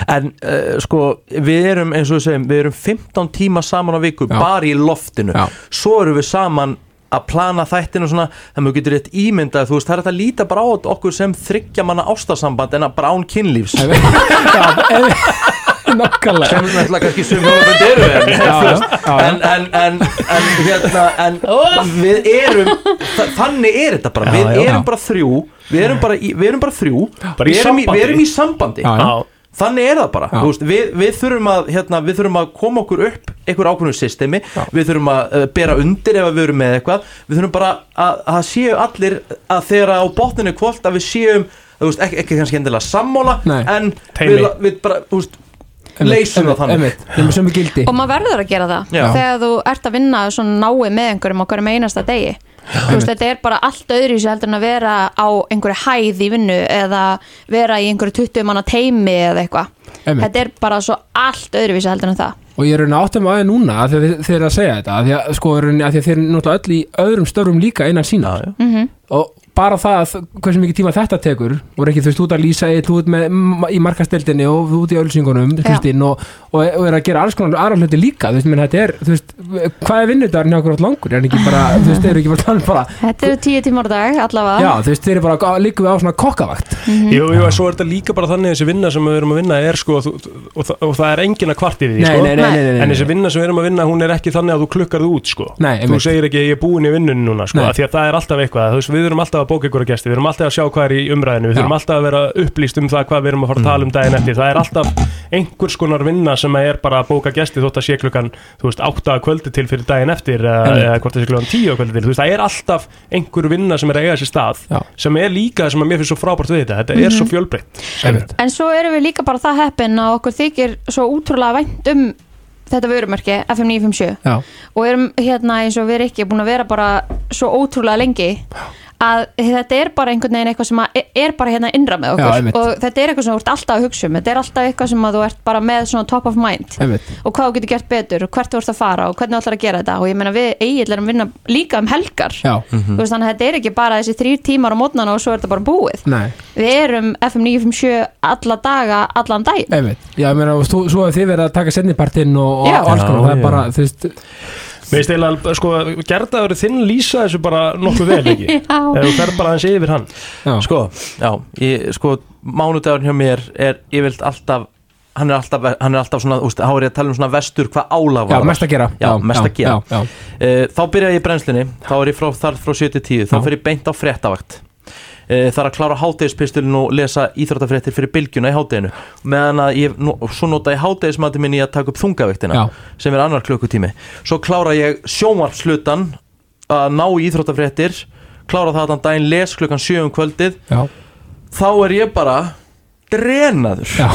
Speaker 3: en uh, sko við erum eins og við segjum, við erum 15 tíma saman á viku,
Speaker 1: Já.
Speaker 3: bara í loftinu
Speaker 1: Já.
Speaker 3: svo erum við saman að plana þættinu svona, þannig að við getur rétt ímyndað þú veist, það er hægt að líta bara á okkur sem þryggja manna ástasamband en að bara án kynlífs
Speaker 1: ef- já, ef- nákvæmlega
Speaker 3: sem náttúrulega kannski sum hjónabönd eru en,
Speaker 1: Já, já, já.
Speaker 3: en, en, en, en, hérna, en við erum þa- þannig er þetta bara, við
Speaker 4: já.
Speaker 3: erum bara þrjú við erum bara, í, við erum bara þrjú
Speaker 4: Bara í
Speaker 3: við, erum í, við
Speaker 4: sambandi.
Speaker 3: erum í sambandi
Speaker 1: Já, já.
Speaker 4: Já.
Speaker 3: þannig er það bara
Speaker 1: Já.
Speaker 3: Þú veist, við, við, þurfum að, hérna, við þurfum að koma okkur upp einhver ákveðnum systemi við þurfum að uh, bera undir ef að við erum með eitthvað við þurfum bara að, að séu allir að þegar á botninu er hvolft að við séum þú veist, ekki, ekki kannski endilega sammála
Speaker 1: Nei.
Speaker 3: en
Speaker 4: Teimi.
Speaker 3: við, við bara þú veist, leysum það þannig
Speaker 1: Nefnum sem við gildi
Speaker 2: og maður verður að gera það
Speaker 3: Já.
Speaker 2: þegar þú ert að vinna svona nái með einhverjum á hverjum einasta degi þú veist, þetta er bara allt öðru sér heldur en að vera á einhverju hæð í vinnu eða vera í einhverju 20 manna teimi eða eitthvað
Speaker 1: Einmitt.
Speaker 2: þetta er bara svo allt öðru sér heldur en það
Speaker 1: Og ég er raunin áttum aðeins núna að þeir, þeir að segja þetta að því að sko er raunin að því að þeir eru náttúrulega öll í öðrum störfum líka innan sína
Speaker 3: Já, já.
Speaker 1: og bara það að hversu mikið tíma þetta tekur og ekki þú veist þú ert að lýsa eitt þú ert með m- í markasteldinni og þú ert í ölsingunum Kristinn og, og, og er að gera alls konar aðra hluti líka þú veist, menn þetta er, þú veist hvað er vinnudagur hjá okkur átt langur er hann ekki bara, þú veist, eru ekki bara þannig bara
Speaker 2: þetta eru 10 tímar á dag allavega
Speaker 1: já, þú veist, þeir eru bara líkum við á svona kokkavakt
Speaker 4: Jú, jú, en
Speaker 1: Mhm.
Speaker 4: svo er þetta líka bara þannig þessi vinna sem við erum að vinna er sko, og, og, og það er engin að kvart yfir því
Speaker 1: nei,
Speaker 4: sko.
Speaker 1: nei, nei, nei, nei,
Speaker 4: En
Speaker 1: nei,
Speaker 4: þessi vinna sem við erum að vinna, hún er ekki þannig að þú klukkar þú út sko.
Speaker 1: Nei,
Speaker 4: Þú
Speaker 1: einmitt.
Speaker 4: segir ekki, ég er búin í vinnunni núna sko,
Speaker 1: Nei.
Speaker 4: af Því að það er alltaf eitthvað, þú veist, við erum alltaf að bóka ykkur að gesti Við erum alltaf að sjá hvað er í umræðinu
Speaker 1: Já.
Speaker 4: Við
Speaker 1: Mm.
Speaker 4: þurfum alltaf að vera upplýst um það hvað við erum að fara að tala um daginn eftir Það er alltaf einhvers konar vinna sem er bara að bóka gesti Þótt að sé klukkan, þú veist, átta að kvöldi til fyrir daginn eftir Eða
Speaker 1: Einmitt.
Speaker 4: eða hvort það sé klukkan tíu að kvöldi til Þú veist, það er alltaf einhver vinna sem er að eiga sér stað
Speaker 1: Já. Mhm.
Speaker 4: Sem er líka það sem að mér finnst svo frábært við þetta Þetta er svo fjölbreytt
Speaker 1: Einmitt.
Speaker 2: en svo erum við líka bara það heppin að okkur þykir svo útrúlega vænt um þetta vörumörki FM 957
Speaker 1: já,
Speaker 2: og erum hérna eins og við erum ekki búin að vera bara svo ótrúlega lengi að þetta er bara einhvern veginn eitthvað sem að er- er bara hérna innra með
Speaker 1: Já,
Speaker 2: okkur
Speaker 1: einmitt.
Speaker 2: og þetta er eitthvað sem þú ert alltaf að hugsa um þetta er alltaf eitthvað sem að þú ert bara með svona top of mind
Speaker 1: einmitt
Speaker 2: og hvað þú getur gert betur og hvert þú ert að fara og hvernig þú ætlar að gera þetta og ég meina við eiginlega erum að vinna líka um helgar
Speaker 1: já,
Speaker 2: Þú
Speaker 3: Mhm.
Speaker 2: veist, þannig að þetta er ekki bara þessi þrýr tímar á mótnana og svo er þetta bara búið
Speaker 1: nei,
Speaker 2: við erum FM 957 alla daga, allan dag
Speaker 1: einmitt já, ég meina, og þú- svo að þið verið að taka setnipartinn og,
Speaker 2: Já.
Speaker 1: og alls konar,
Speaker 3: Já,
Speaker 1: það er
Speaker 3: já.
Speaker 1: bara, þú veist
Speaker 4: Mér finnst eiginlega, sko, gerðaður þinn lýsa þessu bara nokkuð vel ekki
Speaker 2: Já.
Speaker 4: Ef þú fer bara aðeins yfir hann
Speaker 1: já,
Speaker 3: Sko, já, ég, sko, mánudagur hjá mér er yfirlt alltaf hann er alltaf, hann er alltaf svona, úst, þá er ég að tala um svona vestur hvað álag
Speaker 1: já
Speaker 3: var
Speaker 1: mest að gera
Speaker 3: Já, mest að gera.
Speaker 1: já, já,
Speaker 3: Eh, Þá byrja ég í brennslunni, þá er ég frá, þar frá 7 til 10 þá
Speaker 1: Já.
Speaker 3: fer ég beint á fréttavakt Eh, Það er að klára hátegispistulinn og lesa íþróttafréttir fyrir bylgjuna í háteginu meðan að ég, nú- svo nota ég hátegismati minni í að taka upp þungaviktina
Speaker 1: Já.
Speaker 3: sem er annar klukkutími svo klára ég sjónvarpslutan að ná í íþróttafréttir klára það allan daginn, les klukkan 7 um kvöldið
Speaker 1: já,
Speaker 3: þá er ég bara drenaður
Speaker 1: já,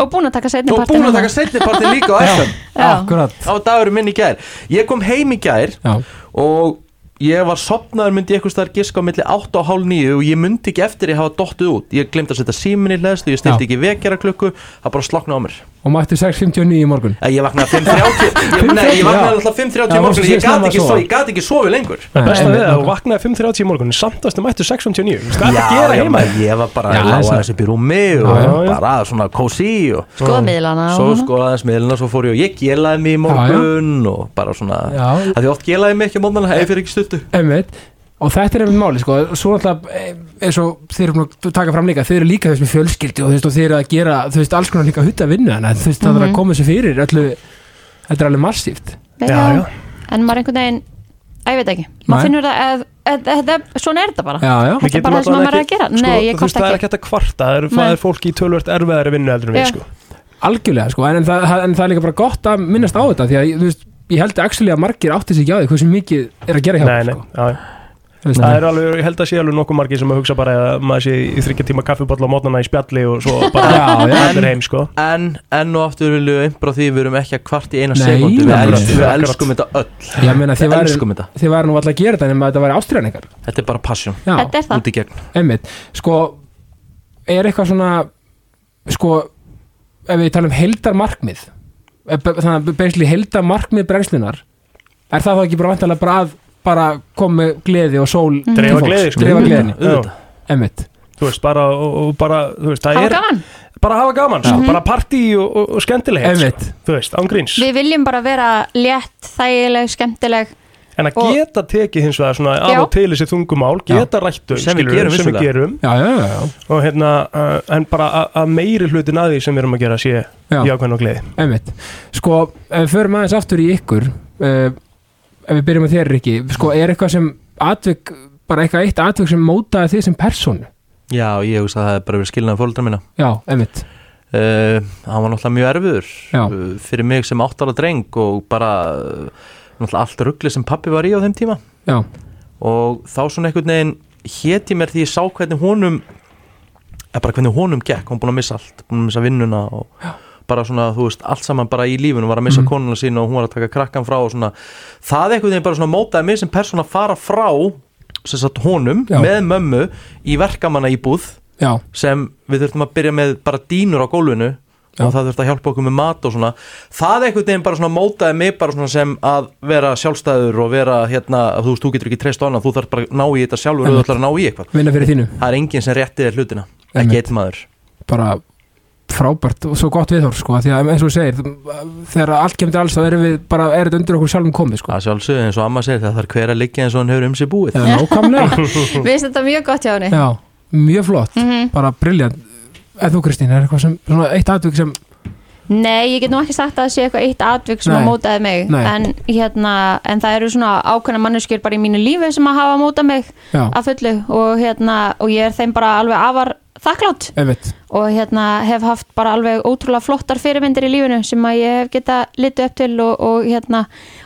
Speaker 2: og búin að taka setni
Speaker 3: og búin að taka setnipartin líka á FM
Speaker 1: akkurat
Speaker 3: á dagurum minn í gær ég kom heim í gær
Speaker 1: já,
Speaker 3: og ég var sopnaður myndi ég eitthvað starf giska á milli 8 og hálf 9 og ég myndi ekki eftir ég hafa dottuð út ég glemt að setja símin í hlæðslu, ég
Speaker 1: Já.
Speaker 3: stilti ekki vekjara klukku það bara sloknaði á mér
Speaker 1: og mættu 6.59 í morgun
Speaker 3: Eh, ég vaknaði 5.30 ég- nei, ég vaknaði alltaf 5.30
Speaker 1: Já,
Speaker 3: í morgun
Speaker 1: þú
Speaker 3: ég
Speaker 1: sést snemma
Speaker 3: gat ekki,
Speaker 1: að
Speaker 3: svo,
Speaker 1: sofa.
Speaker 3: ég gat ekki sofið lengur
Speaker 1: Nei,
Speaker 4: Besta
Speaker 1: einmitt,
Speaker 4: við að þú
Speaker 1: nákvæmlega.
Speaker 4: vaknaði 5.30 í morgun Samtastu mættu 6.59 Þú veist, Hvað er að gera
Speaker 3: já,
Speaker 4: heima?
Speaker 3: maður, ég var bara
Speaker 1: Já,
Speaker 3: að
Speaker 1: það
Speaker 3: lága
Speaker 1: er
Speaker 3: þessi upp í rúmi og
Speaker 4: Já, já, já.
Speaker 3: bara svona kósi og
Speaker 2: skoða miðlana og
Speaker 3: svo sko,
Speaker 2: svona.
Speaker 3: skoðaði aðeins miðluna svo fór ég og ég gelaði mig í morgun og bara svona
Speaker 1: Já.
Speaker 3: að því oft gelaði mig ekki á morgunna ef ég fyrir ekki stuttu
Speaker 1: Einmitt. og þetta er einmitt máli sko. svo alltaf eins og þeir eru búin að taka fram líka þeir eru líka þess með fjölskyldi og, þú veist, og þeir eru að gera þú veist, alls konar líka hutta vinnu þannig að þú veist, það er að koma þessu fyrir öllu, þetta er alveg massíft
Speaker 4: Já, já.
Speaker 2: en maður einhvern veginn að ég veit ekki,
Speaker 1: Nei.
Speaker 2: maður finnur það að, að, að, að, svona er þetta bara
Speaker 1: já, já,
Speaker 2: Þetta er bara það sem maður er að gera. Nei, ég
Speaker 4: Þú veist,
Speaker 2: kvarta
Speaker 4: það
Speaker 2: ekki.
Speaker 4: er ekki hægt að kvarta Það eru- það
Speaker 2: Nei.
Speaker 4: er fólk í tölvört erfiðari vinnu heldur en við
Speaker 2: Já.
Speaker 4: sko.
Speaker 1: algjörlega sko. en, en, það, en það er líka bara gott að minnast á þetta því að þú veist, ég held actually að margir átti sig ekki á því hversu mikið er að gera hjá
Speaker 4: Nei, nei,
Speaker 1: sko.
Speaker 4: já, já.
Speaker 1: Þú veist,
Speaker 4: Það er alveg, ég held að sé alveg nokkuð margir sem að hugsa bara að maður sé í þryggja tíma kaffiball á mótnana í spjalli og svo bara
Speaker 1: Já, já.
Speaker 4: allir heim sko
Speaker 2: Mm.
Speaker 3: en enn og aftur viljum við einbra því við erum ekki að kvart í eina
Speaker 1: Nei,
Speaker 3: sekundu við,
Speaker 1: nei,
Speaker 3: els,
Speaker 1: nei.
Speaker 3: við
Speaker 4: Akkurat.
Speaker 3: elskum þetta öll
Speaker 1: Ég meina, þið
Speaker 3: við
Speaker 1: væri-
Speaker 3: elskum þetta
Speaker 1: þið væri nú alltaf að gera þetta nema að þetta væri ástriðan
Speaker 3: þetta er bara passion
Speaker 2: Þetta er það.
Speaker 3: út í gegn
Speaker 1: einmitt, sko er eitthvað svona sko, ef við tala um heldarmarkmið eh, b- þannig að basically heldarmarkmið brennslunar er það þá ekki bara vantanlega bara að bara koma með gleði og sól til
Speaker 4: Dreifa
Speaker 1: fólks?
Speaker 4: gleði, sko.
Speaker 1: dreifa
Speaker 4: Mhm.
Speaker 1: gleðinni,
Speaker 3: Auðvitað.
Speaker 1: einmitt
Speaker 4: Þú veist, bara, og, og bara, þú veist, það
Speaker 2: hafa
Speaker 4: er
Speaker 2: gaman,
Speaker 4: bara hafa gaman, sko, bara partí og, og, og skemmtileghet
Speaker 1: Einmitt.
Speaker 4: sko. Þú veist, án gríns
Speaker 2: við viljum bara vera létt, þægileg, skemmtileg
Speaker 4: En að
Speaker 2: Og-
Speaker 4: geta tekið hins vegar svona af
Speaker 2: Já.
Speaker 4: og til þessi þungumál, geta rættu
Speaker 3: Sem við gerum
Speaker 4: sem við
Speaker 3: vissulega.
Speaker 4: gerum
Speaker 1: já, já, já, já,
Speaker 4: og hérna, uh, en bara að- að meiri hlutin að því sem við erum að gera sé
Speaker 1: Já.
Speaker 4: jákvæðan og gleði.
Speaker 1: einmitt sko, ef við förum aðeins aftur í ykkur uh, ef við byrjum að þér Riki sko, er eitthvað sem atvik bara eitthvað eitt atvik sem mótaði þið sem persónu
Speaker 3: já, ég hugsa að það er bara verið skilnaði fólkdra minna
Speaker 1: já, einmitt,
Speaker 3: uh, hann var náttúrulega mjög erfiður
Speaker 1: Já.
Speaker 3: uh, fyrir mig sem áttara dreng og bara uh, náttúrulega allt ruggli sem pappi var í á þeim tíma
Speaker 1: já,
Speaker 3: og þá svona einhvern veginn héti mér því ég sá hvernig honum eða bara hvernig honum gekk, hann búin að missa allt búin að missa vinnuna og bara svona þú veist, allt saman bara í lífinu, var að missa
Speaker 1: Mhm.
Speaker 3: konuna sína og hún var að taka krakkan frá og svona, það einhvern veginn bara svona mótaði mig sem persón að fara frá sem sagt honum,
Speaker 1: Já.
Speaker 3: með mömmu í verkamanna íbúð
Speaker 1: já,
Speaker 3: sem við þurftum að byrja með bara dínur á gólfinu
Speaker 1: Já.
Speaker 3: og það þurfti að hjálpa okkur með mat og svona það einhvern veginn bara svona mótaði mig bara svona sem að vera sjálfstæður og vera hérna, þú veist, þú getur ekki treyst á annað þú þarf bara að ná í þetta sjálfur og þú
Speaker 1: Einmitt.
Speaker 3: ætlar að ná í eitthvað
Speaker 1: vinna fyrir þínu
Speaker 3: það er enginn sem rétti þér hlutina,
Speaker 1: Einmitt.
Speaker 3: ekki eitt maður
Speaker 1: bara frábært og svo gott viðhorf sko, af því að eins og þú segir þegar allt kemur til alls þá erum við bara, er þetta undir okkur sjálfum komið sko.
Speaker 3: það sjálfsögðu eins og amma segir það þarf hver að liggja eins og hann hefur um sig búið
Speaker 1: eða nákvæmlega
Speaker 2: Við finnst þetta mjög gott hjá henni
Speaker 1: Mm. já, mjög flott, bara briljant eða þú Kristín, er eitthvað sem, svona eitt atvik sem
Speaker 2: Nei, ég get nú ekki sagt að það sé eitthvað eitt atvik sem
Speaker 1: Nei.
Speaker 2: að mótaði mig
Speaker 1: Nei.
Speaker 2: en, hérna, en það eru svona ákveðna manneskjur bara í mínu lífi sem að hafa mótað mig
Speaker 1: já,
Speaker 2: að fullu og, hérna, og ég er þeim bara alveg afar þakklátt
Speaker 1: einmitt,
Speaker 2: og hérna, hef haft bara alveg ótrúlega flottar fyrirmyndir í lífinu sem að ég hef geta litið upp til og, og, hérna,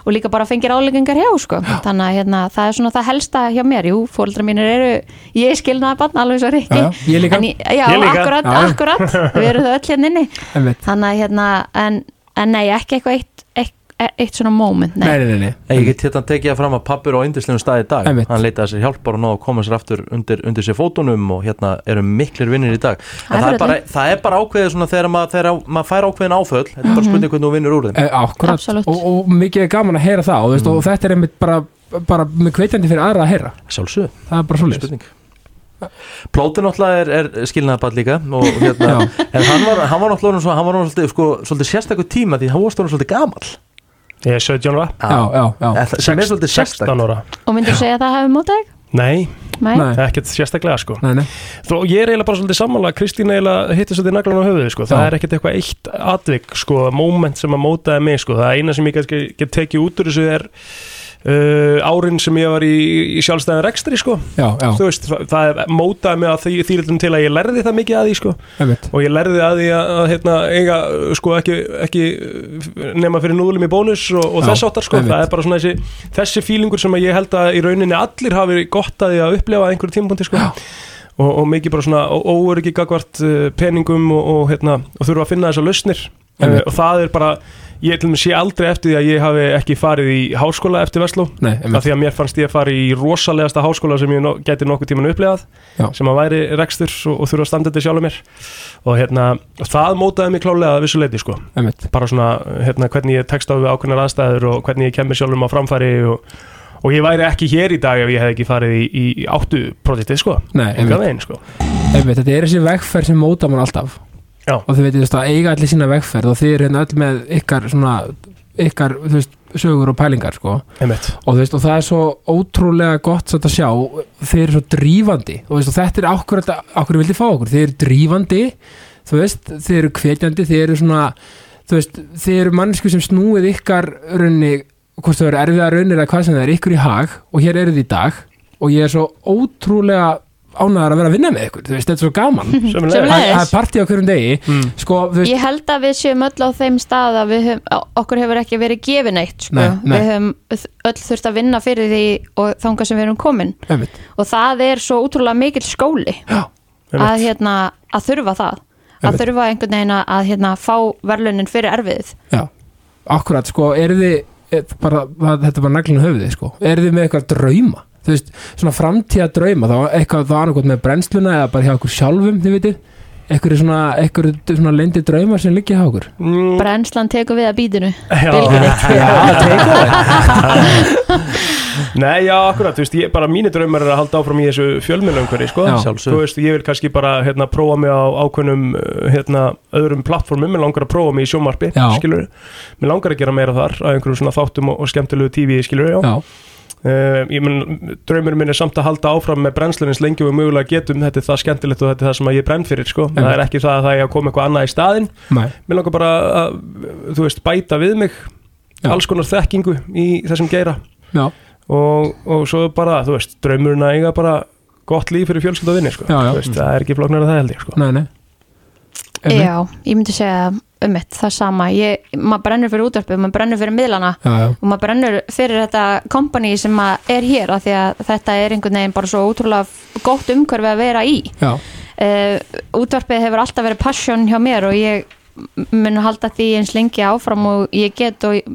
Speaker 2: og líka bara fengir áleggingar hjá sko. þannig að hérna, það er svona það helsta hjá mér jú, fóreldrar mínir eru ég skilnaði barn alveg svo reikki
Speaker 1: Já, já, ég líka.
Speaker 2: En, já,
Speaker 4: Ég líka.
Speaker 2: akkurat,
Speaker 1: Já, já.
Speaker 2: akkurat, við erum það öll hérna inni
Speaker 1: einmitt
Speaker 2: þannig að hérna en, en nei, ekki eitthvað eitt, eitt, eitt svona moment, nei,
Speaker 1: nei, nei, nei, nei.
Speaker 3: Ég get hérna tekið það fram að pappir á yndislegum stað í dag
Speaker 1: Einmitt.
Speaker 3: Hann leitaði sér hjálpar og náðu að koma sér aftur undir, undir sér fótunum og hérna eru miklir vinnir í dag En það
Speaker 2: fyrir
Speaker 3: er, bara,
Speaker 2: öllu.
Speaker 3: það er bara ákveðið svona þegar maður, þegar maður fær ákveðin áföll Þetta er bara spurning hvernig þú vinnur úr þeim
Speaker 1: Eh, Akkurat,
Speaker 2: Absolutt.
Speaker 1: og, og mikið er gaman að heyra það og, veist,
Speaker 4: Mm.
Speaker 1: og þetta er einmitt bara, bara með kveitandi fyrir aðra að heyra
Speaker 3: Sjálfsög,
Speaker 1: það er bara svo
Speaker 3: spurning Plóti náttúrulega er, er skilnaðaball líka og hérna,
Speaker 1: Já.
Speaker 3: en hann var, hann var náttúrulega orðinn svo, hann var náttúrulega sko, svolítið sérstakur tíma því hann var stóðan svolítið gamall
Speaker 4: Ég er 17 ára
Speaker 1: Já, já, já,
Speaker 3: En það- sem er svolítið sérstak
Speaker 4: 16 ára
Speaker 2: og myndir segja að það hafi mótað þig?
Speaker 4: Nei,
Speaker 2: Nei.
Speaker 1: Nei.
Speaker 4: ekkert sérstaklega sko
Speaker 1: nei, nei,
Speaker 4: Þó ég er eiginlega bara svolítið sammála Kristín eiginlega hittir svolítið naglan á höfuðu sko. það
Speaker 1: Já.
Speaker 4: er ekkert eitthvað eitt atvik sko, moment sem að mótaði mig sko. það eina sem ég kannski get tekið út úr þessu er uh, árin sem ég var í, í sjálfstæðan rekstri sko.
Speaker 1: já, já,
Speaker 4: Þú veist, það, það mótaði mig að því þýrlum til að ég lærði það mikið að því sko.
Speaker 1: einmitt
Speaker 4: og ég lærði að því að, að hérna, eiga uh, sko, ekki, ekki uh, nema fyrir núðlum í bónus og, og
Speaker 1: Já,
Speaker 4: þess áttar sko.
Speaker 1: einmitt.
Speaker 4: það er bara svona þessi, þessi fílingur sem að ég held að í rauninni allir hafi gott að því að upplefa að einhverju tímapunkti sko. og, og mikið bara svona óöryggi gagvart uh, peningum og, og, hérna, og þurfa að finna þessar lausnir uh,
Speaker 1: Einmitt.
Speaker 4: og það er bara ég til dæmis sé aldrei eftir því að ég hafi ekki farið í háskóla eftir Vestló
Speaker 1: Nei,
Speaker 4: af
Speaker 1: einmitt,
Speaker 4: því að mér fannst ég að fara í rosalegasta háskóla sem ég no gæti nokkuð tíman upplegað
Speaker 1: Já.
Speaker 4: sem að væri rekstur og, og þurfa að standa þetta sjálfur mér og hérna, og það mótaði mig klálega að vissu leiti sko,
Speaker 1: einmitt,
Speaker 4: bara svona hérna, hvernig ég tekst á við ákveðnar aðstæður og hvernig ég kemur sjálfum á framfæri og, og ég væri ekki hér í dag ef ég hef ekki farið í, í, í áttu projektið sko,
Speaker 1: nei, einmitt
Speaker 4: engan veginn sko
Speaker 1: Einmitt, þetta er þessi vegferð sem móta mann alltaf
Speaker 4: Já.
Speaker 1: og þið veitir þú veist að eiga allir sína vegferð og þið eru hérna öll með ykkar svona ykkar þú veist, sögur og pælingar sko. og,
Speaker 4: einmitt,
Speaker 1: þú veist, og það er svo ótrúlega gott satt að sjá, þið eru svo drífandi og, þú veist, og þetta er okkur, okkur vildi fá okkur þið eru drífandi þú veist, þið eru hvetjandi, þið eru svona þú veist, þið eru mannsku sem snúið ykkar raunni, hvort það eru erfiða raunir eða hvað sem það er, ykkur í hag og hér eru þið í dag og ég er svo ótrúlega ánæðar að vera að vinna með ykkur þú veist, þetta er svo gaman
Speaker 4: sömulega
Speaker 1: Það
Speaker 2: Leiðis.
Speaker 1: það er partí á hverjum degi
Speaker 4: Mm.
Speaker 1: Sko, þú veist,
Speaker 2: ég held að við séum öll á þeim stað að við höfum, á- okkur hefur ekki verið gefin eitt sko.
Speaker 1: Nei, nei.
Speaker 2: við höfum öll þurft að vinna fyrir því og þanga sem við erum komin
Speaker 1: einmitt,
Speaker 2: og það er svo útrúlega mikill skóli að,
Speaker 4: einmitt.
Speaker 2: hérna, að þurfa það að
Speaker 1: Einmitt.
Speaker 2: þurfa einhvern veginn að hérna, fá verðlunin fyrir erfiðið
Speaker 1: já Akkurat, sko, er þið er bara, það, Þetta var naglinu höfuði, sko Er þið með eitthvað drauma? Þú veist, svona framtíða drauma Það var eitthvað, það var annað með brennsluna Eða bara hjá okkur sjálfum, þið veitir Ekkur er svona, ekkur svona lendi drauma sem liggja hjá okkur
Speaker 4: Mm,
Speaker 2: brennslan tekur við að býtinu
Speaker 4: já.
Speaker 1: Já, teikur það
Speaker 4: Nei, já, akkurat, þú veist, ég, bara mínir draumar er að halda áfram í þessu fjölmiðlumhverfi, sko
Speaker 1: Já.
Speaker 4: Þú veist, ég vil kannski bara, hérna, prófa mig á ákveðnum, uh, hérna, öðrum plattformum Mér langar að prófa mig í sjómarpi,
Speaker 1: Já.
Speaker 4: skilur Mér langar að gera meira þar, að einhverjum svona þáttum og, og skemmtilegu tífi, skilur já.
Speaker 1: Já,
Speaker 4: Uh, Ég menn, draumur minn er samt að halda áfram með brennslunins lengi og við mögulega getum Þetta er það skemmtilegt og þetta er það sem að ég brenn fyrir, sko Það er ekki það að það ég að koma eitthvað annað í staðinn
Speaker 1: mæ,
Speaker 4: Mér langar bara að, þú veist, bæta við mig
Speaker 1: Já.
Speaker 4: alls konar þekkingu í þessum geira
Speaker 1: já,
Speaker 4: og, og svo bara, þú veist, draumurinn að eiga bara gott líf fyrir fjölskyld og vinni, sko
Speaker 1: Já, já.
Speaker 4: Þú veist, það er ekki flóknar að það held ég, sko
Speaker 1: nei, nei einmitt.
Speaker 2: Já, ég myndi segja um mitt, það sama ég, maður brennur fyrir útvarpið, maður brennur fyrir miðlana
Speaker 1: já, já,
Speaker 2: og maður brennur fyrir þetta company sem að er hér af því að þetta er einhvern veginn bara svo ótrúlega gott umhverfi að vera í
Speaker 1: já,
Speaker 2: uh, útvarpið hefur alltaf verið passion hjá mér og ég mun halda því eins lengi áfram og ég get og ég,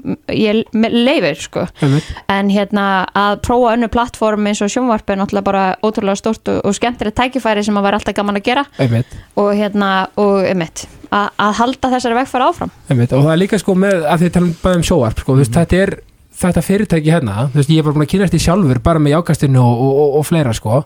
Speaker 2: ég leifir sko
Speaker 1: einmitt
Speaker 2: en hérna að prófa önnu plattform eins og sjónvarpið er náttúrulega bara ótrúlega stórt og, og skemmtilegt tækifæri sem að vera alltaf gaman að gera
Speaker 1: Einmitt,
Speaker 2: og hérna og emitt að, að halda þessari vegfæra áfram
Speaker 1: einmitt, og það er líka sko með að þið talum bara um sjóarp sko, þú veist, þetta er þetta fyrirtæki hérna, þú veist, ég er bara búin að kynast því sjálfur bara með jákastinu og, og, og, og fleira sko,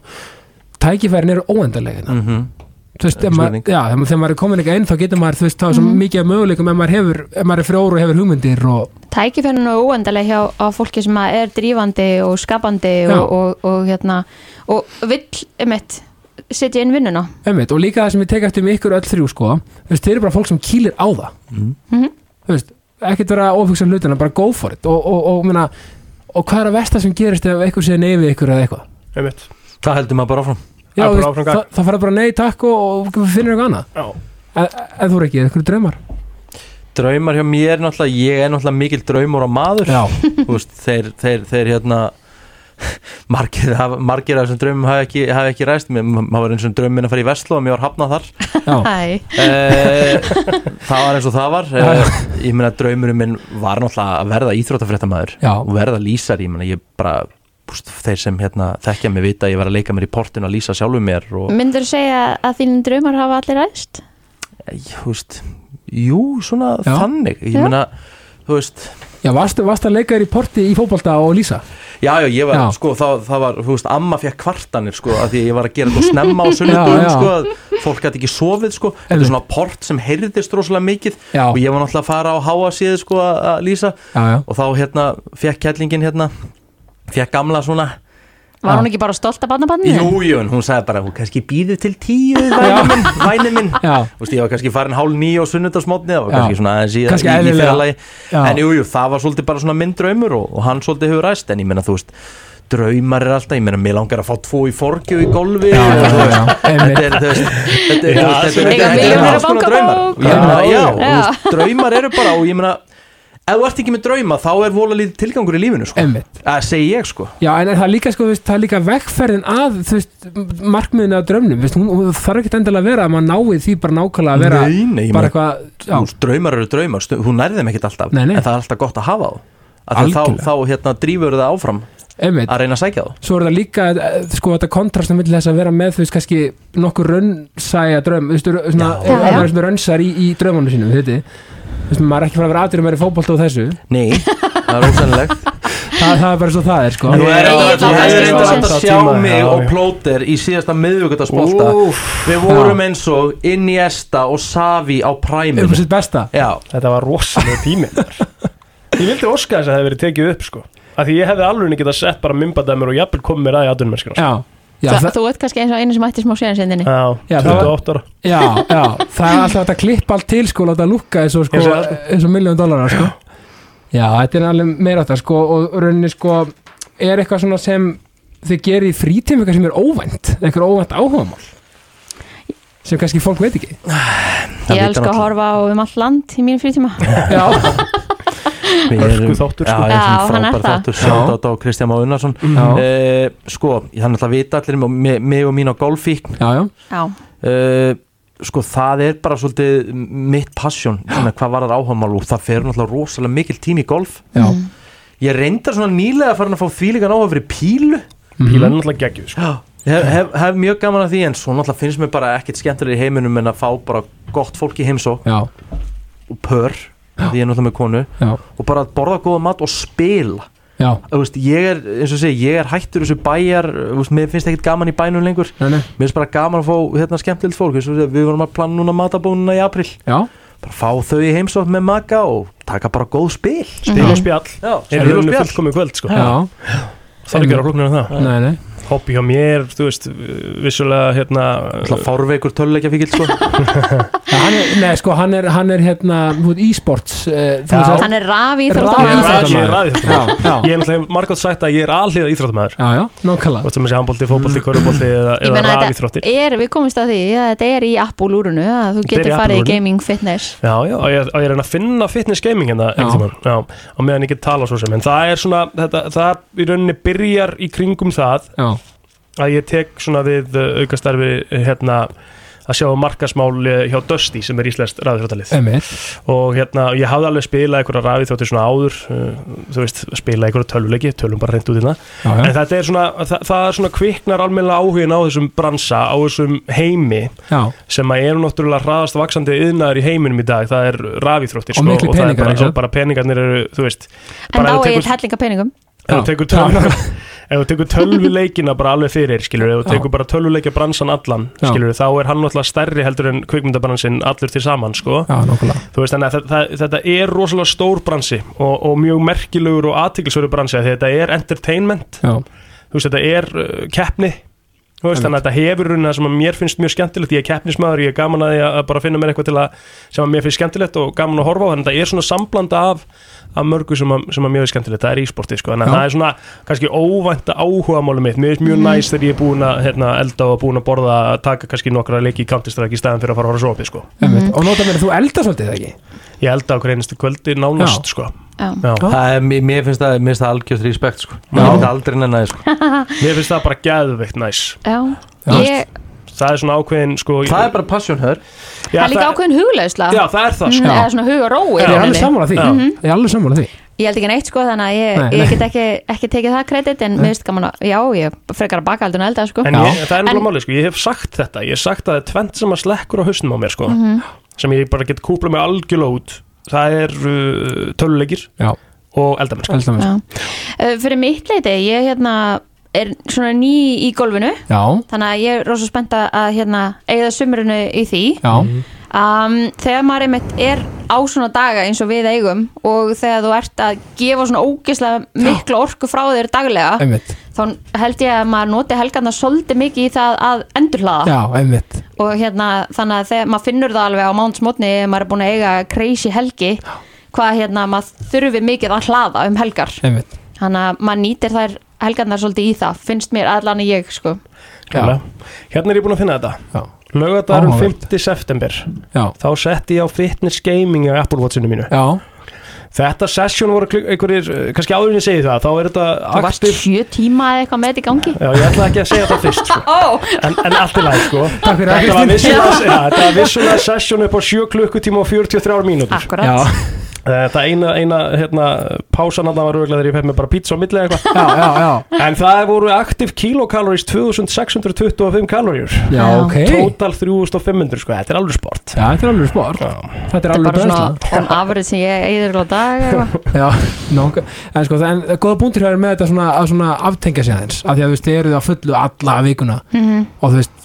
Speaker 1: tækifærin eru hérna. óendanlegina
Speaker 3: mm -hmm.
Speaker 1: þú veist, ef maður,
Speaker 3: Spurning.
Speaker 1: já, þegar maður- þegar maður er komin ekki einn þá getur maður, þú veist, þá er svo mikið af möguleikum ef maður hefur, ef maður er frjór og hefur hugmyndir og,
Speaker 2: tækifenninu og óendaleg hjá á fólki sem að er drífandi og skapandi
Speaker 1: Já.
Speaker 2: og, og, og hérna og vill emitt setja inn vinnuna
Speaker 1: einmitt, og líka það sem ég tek eftir með ykkur öll þrjú, sko, þú veist, þeir eru bara fólk sem kýlir á það,
Speaker 2: Mhm.
Speaker 1: þú veist ekkert vera að ofugsa hlutina, bara go for it og, og, og, meina, og hvað er að versta sem gerist ef eitthvað sé neyfið ykkur eða eitthvað
Speaker 4: einmitt
Speaker 3: það heldur maður bara áfram
Speaker 1: já,
Speaker 4: Það er
Speaker 1: þú veist,
Speaker 4: bara áfram gang.
Speaker 1: það, það fara bara nei, takk og, og finnir eitthvað annað
Speaker 4: Já,
Speaker 1: En- en þú er ekki, eitthvað draumar
Speaker 3: draumar hjá mér náttúrulega, ég er náttúrulega mikil draumur á maður Þú veist, þeir, þeir, þeir hérna margir, hafa- margir af þessum draumum hafa ekki, hafa ekki ræst mér, maður var eins og drauminn að fara í Vestló og mér var hafnað þar
Speaker 1: já,
Speaker 2: Æ,
Speaker 3: Eh, það var eins og það var Eh, ég meina draumurinn minn var náttúrulega að verða íþróttafréttamaður
Speaker 1: Já.
Speaker 3: og verða lýsari, ég meina ég bara búst, þeir sem hérna þekkja mig vita að ég var að leika mér í portinu að lýsa sjálfum mér
Speaker 1: Mm.
Speaker 3: og
Speaker 2: myndur segja að þínum draumar hafa allir ræst?
Speaker 3: ég, eh, þú veist, jú, svona
Speaker 1: Já.
Speaker 3: þannig, ég
Speaker 2: Já.
Speaker 3: meina þú veist,
Speaker 1: já varstu, varstu að leika þér í porti í fótbolta og lýsa
Speaker 3: já, já, ég var,
Speaker 1: Já.
Speaker 3: sko, það, það var, þú veist, amma fekk kvartanir, sko, að því að ég var að gera þetta snemma á sunnudum,
Speaker 1: Já, já.
Speaker 3: sko, að fólk gæti ekki sofið, sko, þetta
Speaker 1: Einmitt.
Speaker 3: er svona port sem heyrðist rosalega mikið
Speaker 1: Já.
Speaker 3: og ég var náttúrulega að fara á háa síði, sko, að að lýsa
Speaker 1: já, já,
Speaker 3: og þá, hérna, fekk kællingin, hérna, fekk gamla svona,
Speaker 1: Já.
Speaker 2: Var hún ekki bara stolt af barnabanninu?
Speaker 3: jújun, hún sagði bara, hún kannski býðið til tíu, væni minn, væni minn,
Speaker 1: já,
Speaker 3: Þú veist, ég var kannski farin hálf nýja á sunnudagsmótni það var
Speaker 1: Já.
Speaker 3: kannski svona aðeins í,
Speaker 1: Kannski
Speaker 3: í, í
Speaker 1: eðlilega.
Speaker 3: fyrralagi
Speaker 1: Já.
Speaker 3: en jú, jú, það var svolítið bara svona minn draumur og, og hann svolítið hefur ræst en ég meina, þú veist, draumar er alltaf ég meina, mér langar að fá tvo í forgju í golfi
Speaker 1: já, já,
Speaker 3: og, þú veist,
Speaker 1: já, einmitt
Speaker 3: þetta er, þú veist, þetta er,
Speaker 4: Já,
Speaker 3: þú veist,
Speaker 4: sem
Speaker 3: þetta er-
Speaker 2: eiga
Speaker 3: þetta er
Speaker 2: milljónir á
Speaker 3: alls konar draumar
Speaker 2: bankabók.
Speaker 3: Og ég meina,
Speaker 1: Já.
Speaker 3: já,
Speaker 2: Já.
Speaker 3: þú veist, draumar eru bara og ég meina, ef þú ert ekki með drauma þá er vola lítið tilgangur í lífinu, sko
Speaker 1: Einmitt.
Speaker 3: að segi ég, sko
Speaker 1: Já, en það er líka, sko, þú veist, það er líka vegferðin að, þú veist, markmiðin að draumnum, þú veist, hún hún þarf ekkert endilega að vera að maður nái því bara nákvæmlega að vera
Speaker 3: Nei, nei, ég
Speaker 1: bara
Speaker 3: meina-
Speaker 1: eitthvað,
Speaker 3: Þú
Speaker 1: já,
Speaker 3: veist, draumar eru draumar, stu- þú nærði þeim ekkert alltaf
Speaker 1: Nei, nei.
Speaker 3: en það er alltaf gott að hafa þá að þá,
Speaker 1: Algjörlega.
Speaker 3: þá hérna, drífur það áfram
Speaker 1: einmitt,
Speaker 3: að reyna að sækja þá
Speaker 1: svo er það líka, eh, sko, þetta kontrastum millir þess að vera með, þú veist, kannski nokkur rönnsæja draum, þú veist, ru- svona,
Speaker 3: Já.
Speaker 1: eh,
Speaker 2: Já,
Speaker 1: að
Speaker 2: já.
Speaker 1: vera svona rönnsæjar í, í draumunum sínum, þetta, þú veist, maður er ekki fara að vera aðdurum að vera í fótbolta og þessu,
Speaker 3: Nei, það er ósennilegt
Speaker 1: það, það er bara svo það er, sko.
Speaker 4: En
Speaker 3: Þú er
Speaker 4: þú er-
Speaker 3: reyndar- þú
Speaker 2: Já,
Speaker 3: hefði
Speaker 2: já,
Speaker 3: reyndar
Speaker 2: já,
Speaker 3: hægt að
Speaker 4: já,
Speaker 3: sjá
Speaker 4: tíma,
Speaker 3: mig
Speaker 4: já,
Speaker 3: og
Speaker 4: já.
Speaker 3: plóter í síðasta miðvíkudagsbolta Við vorum eins og Iniesta og Savi á præminu
Speaker 1: upp á sitt besta.
Speaker 3: Já,
Speaker 4: þetta var rosalega tími maður. Ég vildi óska þess að það hefði verið tekið upp sko Af því ég hefði alveg getað sett bara mymbadæmur og jafnvel komið mér að í atvinnumennskina sko.
Speaker 1: Já, já,
Speaker 2: Þa,
Speaker 1: það,
Speaker 2: Þú ert kannski eins og einu sem ætti smá séðansendinni
Speaker 4: Já,
Speaker 1: Já, það var-
Speaker 4: 28 ára
Speaker 1: já, já, það er alltaf hægt að klippa allt til, sko, láta lukka eins og, sko,
Speaker 4: Eins og það, sko.
Speaker 1: eins og miljón dólarar, sko. Já, þetta er alveg meira þetta sko og rauninni sko er eitthvað svona sem þið gerir í frítíma eitthvað sem er óvænt, eitthvað óvænt áhugamál sem kannski fólk veit ekki
Speaker 3: það
Speaker 2: Ég
Speaker 3: vita
Speaker 2: elska að
Speaker 3: náttúrulega.
Speaker 2: horfa á um allt land í mínu frítíma
Speaker 1: Já,
Speaker 3: Við erum-
Speaker 4: Hörku þáttur, sko.
Speaker 3: Já, ég er
Speaker 2: Já, hann
Speaker 3: svona
Speaker 2: er
Speaker 3: frábær
Speaker 2: það.
Speaker 3: þáttur Sjátt á Kristján Má Unnarsson
Speaker 1: já,
Speaker 3: Eh, Sko, ég þannig að vita allir um mig- mig og mín á golfík
Speaker 1: já, já,
Speaker 2: Já,
Speaker 3: Eh, sko það er bara svolítið mitt passion, svona, hvað var það áhagamál og það fer náttúrulega rosalega mikil tími í golf
Speaker 1: já.
Speaker 2: Mm.
Speaker 3: ég reyndar svona nýlega farin að fá þvílegan áhuga fyrir pílu
Speaker 1: Mhm.
Speaker 4: Pílan er náttúrulega geggjuð sko.
Speaker 3: hef, hef, hef mjög gaman að því en svo náttúrulega finnst mér bara ekkert skemmtilega í heiminum en að fá bara gott fólk í heimsók
Speaker 1: já,
Speaker 3: og pör, því ég er náttúrulega með konu
Speaker 1: já,
Speaker 3: og bara að borða góða mat og spila
Speaker 1: já,
Speaker 3: Þú veist, ég er, eins og segi, ég er hættur þessu bæjar, þú veist, mér finnst ekkert gaman í bænum lengur
Speaker 1: nei, nei,
Speaker 3: mér finnst bara gaman að fá hérna skemmtilegt fólk eins og segi, við vorum að plana núna matabónuna í april
Speaker 1: já,
Speaker 3: bara fá þau í heimsótt með maka og taka bara góð spil
Speaker 4: Spil og spjall
Speaker 3: Já,
Speaker 4: Er
Speaker 3: spil og
Speaker 4: rauninu
Speaker 3: spjall
Speaker 4: fullkomið kvöld sko
Speaker 1: já,
Speaker 4: Það er ekki að flóknir en það
Speaker 1: nei, nei,
Speaker 4: hobby hjá mér, þú veist vissulega hérna
Speaker 3: Alltaf fárveikur töluleikja fíkil sko
Speaker 1: Ja, hann er, nei, sko, hann er, hann er hérna, þú veit, e-sports uh, þú
Speaker 4: Já.
Speaker 1: veist,
Speaker 2: hann er rafi
Speaker 1: Rafi-
Speaker 4: ég er
Speaker 2: íþróttamaður.
Speaker 4: ra- ég er raðíþróttamaður.
Speaker 1: Já, já.
Speaker 4: ég er náttúrulega margátt sagt að ég er alhliða íþróttamaður
Speaker 1: já, já, nákvæmlega
Speaker 4: hvort sem þessi handbólti, fótbólti, körubólti eða,
Speaker 2: Ég
Speaker 4: eða
Speaker 2: meina, þetta
Speaker 4: rafíþróttir
Speaker 2: er, við komumst að því að þetta er í Apple-úrunu að þú
Speaker 4: Þetta er í
Speaker 2: getur farið í
Speaker 4: Apple-úrinu.
Speaker 2: gaming fitness
Speaker 4: Já, já, og ég, og ég er að reyna að finna fitness gaming hérna,
Speaker 1: Já.
Speaker 4: einhvern tímann, já, á meðan ég get tala svo sem, en það er svona, þetta, það í rauninni byrjar í kringum það
Speaker 1: já,
Speaker 4: að ég tek svona við eh, aukastarfi hérna að sjá um markasmál eh, hjá Dusty sem er íslenskt ræðiþróttalið
Speaker 1: emir
Speaker 4: og hérna ég hafði alveg spilað einhverja ræðiþróttir svona áður uh, þú veist, spilað einhverja tölvuleiki tölum bara reynd út í það
Speaker 1: já,
Speaker 4: en
Speaker 1: já,
Speaker 4: þetta er svona, það, það er svona kviknar almennilega áhugin á þessum bransa á þessum heimi
Speaker 1: já,
Speaker 4: sem að eru náttúrulega hraðast vaksandi yðnaður í heiminum í dag, það er rafíþróttir
Speaker 1: Og miklir
Speaker 4: það
Speaker 1: peningar,
Speaker 4: er bara,
Speaker 1: ekki satt?
Speaker 4: og bara peningarnir eru, þú veist
Speaker 2: en þá
Speaker 4: bara ef þú
Speaker 2: er
Speaker 4: tekur-
Speaker 2: ég hellinga peningum
Speaker 4: ef þú
Speaker 1: Já.
Speaker 4: tekur tölv ef þú tekur tölvuleikina bara alveg fyrir skilur, ef þú
Speaker 1: Já.
Speaker 4: tekur bara tölvuleikja bransan allan
Speaker 1: Já.
Speaker 4: skilur, þá er hann náttúrulega stærri heldur en kvikmyndabransin allur til saman sko.
Speaker 1: já, nákvæmlega
Speaker 4: þú veist, þannig að þa- þa- þetta er rosalega stór bransi og, og mjög merkilegur og aðtiklisverður bransi af því að þetta er entertainment
Speaker 1: já,
Speaker 4: þú veist, þetta er uh, keppni þú veist, þannig að þetta hefur raunin það sem að mér finnst mjög skemmtilegt, ég er keppnismæður, ég er gaman að, því að að bara finna mér eitthvað til að sem að mér finnst skemmtilegt og gaman að horfa á þannig að þetta er svona samblanda af, af mörgu sem að, sem að mér finnst skemmtilegt, það er e-sporti sko, þannig að
Speaker 1: Já.
Speaker 4: það er svona kannski óvænt áhuga málum mitt, mér finnst mjög næst þegar ég er búin að hérna, elda og búin að borða að taka kannski nokkra leiki í Counter-Strike í staðan fyrir að fara að horfa svo opið sko,
Speaker 1: emir og nota mér að þú elda svolítið eða ekki
Speaker 4: ég elda okkur einustu kvöldi
Speaker 1: Já.
Speaker 4: nánast sko,
Speaker 2: Já.
Speaker 4: já
Speaker 3: Það er, mér mér finnst það, mér finnst það algjörst respekt sko
Speaker 1: Já.
Speaker 3: Mér finnst það aldrei nenni sko
Speaker 4: mér finnst það bara geðveikt næs,
Speaker 2: Já.
Speaker 1: Já.
Speaker 2: Ég,
Speaker 4: það er svona ákveðin sko,
Speaker 3: Það er bara passion hör
Speaker 4: Já,
Speaker 2: það er líka ákveðin huglausla
Speaker 4: Já, það er það sko.
Speaker 2: Mm, eða svona hug og ró í
Speaker 1: ég er alveg
Speaker 2: rauninni.
Speaker 1: sammála því,
Speaker 4: Já.
Speaker 1: ég er alveg sammála því
Speaker 2: ég held ekki neitt sko þannig að ég,
Speaker 1: Nei, nei.
Speaker 2: ég get ekki, ekki tekið það kredit en mér finnst gaman að, já, ég frekar að baka heldur en að elda sko
Speaker 4: En
Speaker 1: Já.
Speaker 4: ég, það er
Speaker 2: En-
Speaker 4: náttúrulega málið, sko, ég hef sagt þetta Ég hef sagt að það er tvent sem að slekkur á hausnum á mér sko. sem ég bara get kúplað mig algjörlega út Það er uh, töluleikir
Speaker 1: já,
Speaker 4: og eldamenn
Speaker 1: elda mér
Speaker 2: Já. Uh, fyrir mitt leiti, ég hérna er svona ný í golfinu
Speaker 1: já,
Speaker 2: þannig að ég er rosa spennt að hérna eigða sumrunu í því
Speaker 1: já,
Speaker 4: Mhm.
Speaker 2: um, þegar maður einmitt er á svona daga eins og við eigum og þegar þú ert að gefa svona ógeðslega mikla orku frá þér daglega
Speaker 1: emir
Speaker 2: þá held ég að maður noti helgarna svolítið mikið í það að endurhlaða
Speaker 1: já, emir
Speaker 2: og hérna þannig að þegar maður finnur það alveg á mándsmotni ef maður er búin að eiga crazy helgi hvað hérna maður þurfi mikið að hlaða um helgar
Speaker 1: emir
Speaker 2: þannig að maður nýtir þær helgarnar svolítið í það finnst mér allan í ég sko
Speaker 1: já,
Speaker 4: Hérna er ég búin að finna þetta
Speaker 1: já,
Speaker 4: Laugardagurinn
Speaker 1: Áhugavert.
Speaker 4: 5. september
Speaker 1: já,
Speaker 4: Þá setti ég á fitness gaming á Apple Watchinu mínu
Speaker 1: já,
Speaker 4: Þetta session voru klik- einhverjir, uh, kannski áðurinn ég segi það Þá er þetta
Speaker 2: þú varst
Speaker 4: aktiv
Speaker 2: sjö tíma eða eitthvað með þetta í gangi
Speaker 4: Já, ég ætla ekki að segja þetta fyrst sko.
Speaker 2: ó,
Speaker 4: en, en allt er læg sko
Speaker 1: Takk fyrir að
Speaker 4: Þetta var
Speaker 1: Kristín.
Speaker 4: vissulega, ja, þetta var vissulega session upp á 7 klukkutíma og 43
Speaker 2: Ah.
Speaker 1: já,
Speaker 4: mínútur
Speaker 2: akkurat
Speaker 4: Eh, Það eina, eina hérna, pásan að það var röglega þegar ég fekk mér bara pizza á milli eða eitthvað
Speaker 1: já, já, já,
Speaker 4: En það voru aktiv kilokaloris 2625 kaloríur
Speaker 1: já, ok
Speaker 4: Total 3500 sko, þetta er alveg sport
Speaker 1: já, þetta er alveg sport,
Speaker 4: Já.
Speaker 1: þetta er
Speaker 2: þetta er
Speaker 1: alveg
Speaker 2: bara
Speaker 1: bræðsla
Speaker 2: svona on average sem ég eigður á dag eða eitthvað.
Speaker 1: Já, nokka, en sko, það- en góða búntur hér með þetta svona, að svona aftengja sig aðeins af því að þú veist, þið eruð á fullu alla vikuna
Speaker 2: Mhm.
Speaker 1: -hmm. og þú veist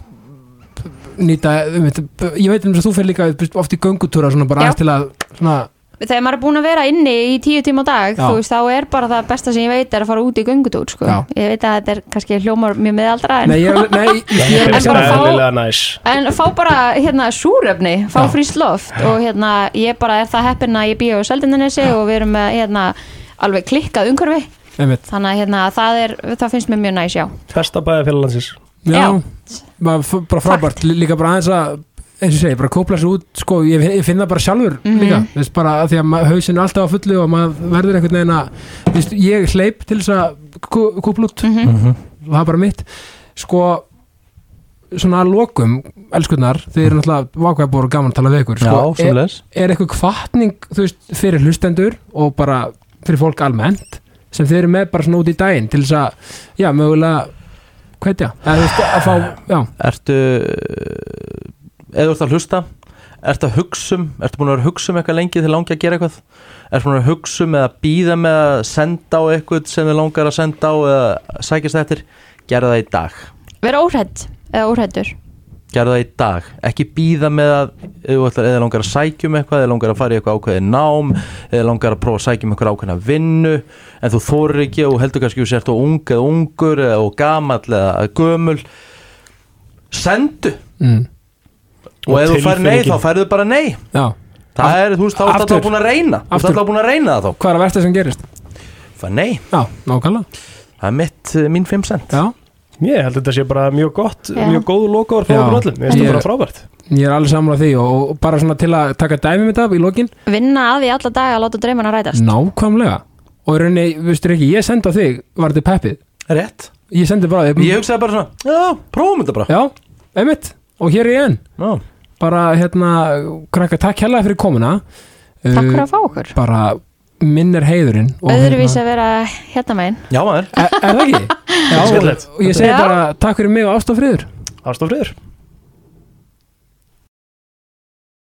Speaker 1: nýta, um, ég veit um þess að þú fer líka þú veist, oft í göngutúra svona bara
Speaker 2: Já.
Speaker 1: aðeins til að svona,
Speaker 2: þegar maður er búin að vera inni í tíu tíma á dag
Speaker 1: Já.
Speaker 2: þú veist þá er bara það besta sem ég veit er að fara út í göngutúr sko.
Speaker 1: Já.
Speaker 2: ég veit að þetta er kannski hljómar mjög meðaldra en
Speaker 1: nei, ég, er alveg- nei, ég, ég er
Speaker 4: Þetta
Speaker 1: alveg
Speaker 4: er
Speaker 2: bara
Speaker 1: saman
Speaker 2: fá-
Speaker 4: eðlilega næs
Speaker 2: En fá bara hérna súrefni, fá
Speaker 1: Já.
Speaker 2: frýst loft og hérna ég bara er það heppin að ég býja á Seldindanesi og við erum með hérna alveg klikkað umhverfi
Speaker 1: einmitt,
Speaker 2: þannig að hérna það er, það finnst mér mjög næs já.
Speaker 4: Besta bæði félagsins
Speaker 1: já,
Speaker 2: Já.
Speaker 1: bara, f- bara frábært lí- líka bara aðeins að eins og ég segi, bara kópla sér út, sko, ég, ég finn það bara sjálfur
Speaker 2: Mhm.
Speaker 1: líka, þú veist, bara að því að hausin er alltaf á fullu og maður verður einhvern veginn að þú veist, ég hleyp til þess að kú- kúpla út
Speaker 2: Mhm.
Speaker 3: Mhm.
Speaker 1: það er bara mitt sko svona að lokum, elskurnar þið eru náttúrulega vákvæða búið og gaman að tala við ykkur sko, er,
Speaker 3: Mm. svoleiðis.
Speaker 1: er eitthvað kvartning veist, fyrir hlustendur og bara fyrir fólk almennt sem þið eru með bara svona út í daginn til þess að, já, mögulega hvetja, eða þú veist, að fá já,
Speaker 3: Ertu eða þú ert að hlusta Ertu að hugsa um, ertu búin að vera að hugsa um eitthvað lengi þegar langi að gera eitthvað Ertu búin að vera að hugsa um eða býða með að senda á eitthvað sem þið langar að senda á eða sækist eftir Gerðu það í dag
Speaker 2: Verða óhrædd eða óhræddur
Speaker 3: gerðu það í dag ekki býða með að eða, eða langar að sækjum eitthvað, eða langar að fara í eitthvað ákveðið nám eða langar að prófa að sækjum eitthvað ákveðna vinnu en þú þorir ekki og heldur kannski að þú sért og ung eða ungur eða og gamall eða gömul sendu
Speaker 1: mm.
Speaker 3: og,
Speaker 4: Og
Speaker 3: ef þú fær nei
Speaker 4: tilfinningin.
Speaker 3: þá færðu bara nei
Speaker 1: Já,
Speaker 3: það er, þú veist, þá er
Speaker 1: Aftur.
Speaker 3: alltaf búin að reyna þú veist
Speaker 1: Aftur.
Speaker 3: alltaf búin að reyna það þá
Speaker 1: hvað er að versta sem gerist?
Speaker 3: fær nei,
Speaker 1: Já, nákvæmlega
Speaker 3: það er mitt, eh, mín 5 cent
Speaker 1: Já,
Speaker 4: Ég held að þetta sé bara mjög gott,
Speaker 2: Já.
Speaker 4: mjög góð lokaður frá
Speaker 1: Já.
Speaker 4: okkur öllum, ég veist
Speaker 1: Ég-
Speaker 4: það bara frábært
Speaker 1: ég er alveg sammála því og, og bara svona til að taka dæmi með þetta í lokin
Speaker 2: vinna að því alla daga að láta draumana rætast
Speaker 1: Nákvæmlega Og í rauninni, veistu ekki, ég sendi á þig Var þetta peppið?
Speaker 3: rétt,
Speaker 1: Ég sendi bara á þig
Speaker 3: ég hugsaði bara svona já, prófum þetta bara
Speaker 1: Já, einmitt Og hér er ég enn
Speaker 3: já.
Speaker 1: Bara, hérna, krakka, takk hella fyrir komuna Uh,
Speaker 2: Takk fyrir að fá okkur
Speaker 1: Bara minn er heiðurinn og E,
Speaker 2: Öðruvísi að vera hérna megin
Speaker 3: já maður
Speaker 1: Er er það ekki?
Speaker 4: Skemmtilegt.
Speaker 1: og ég segi
Speaker 2: Já.
Speaker 1: bara takk fyrir mig og ástofriður
Speaker 4: Ástofriður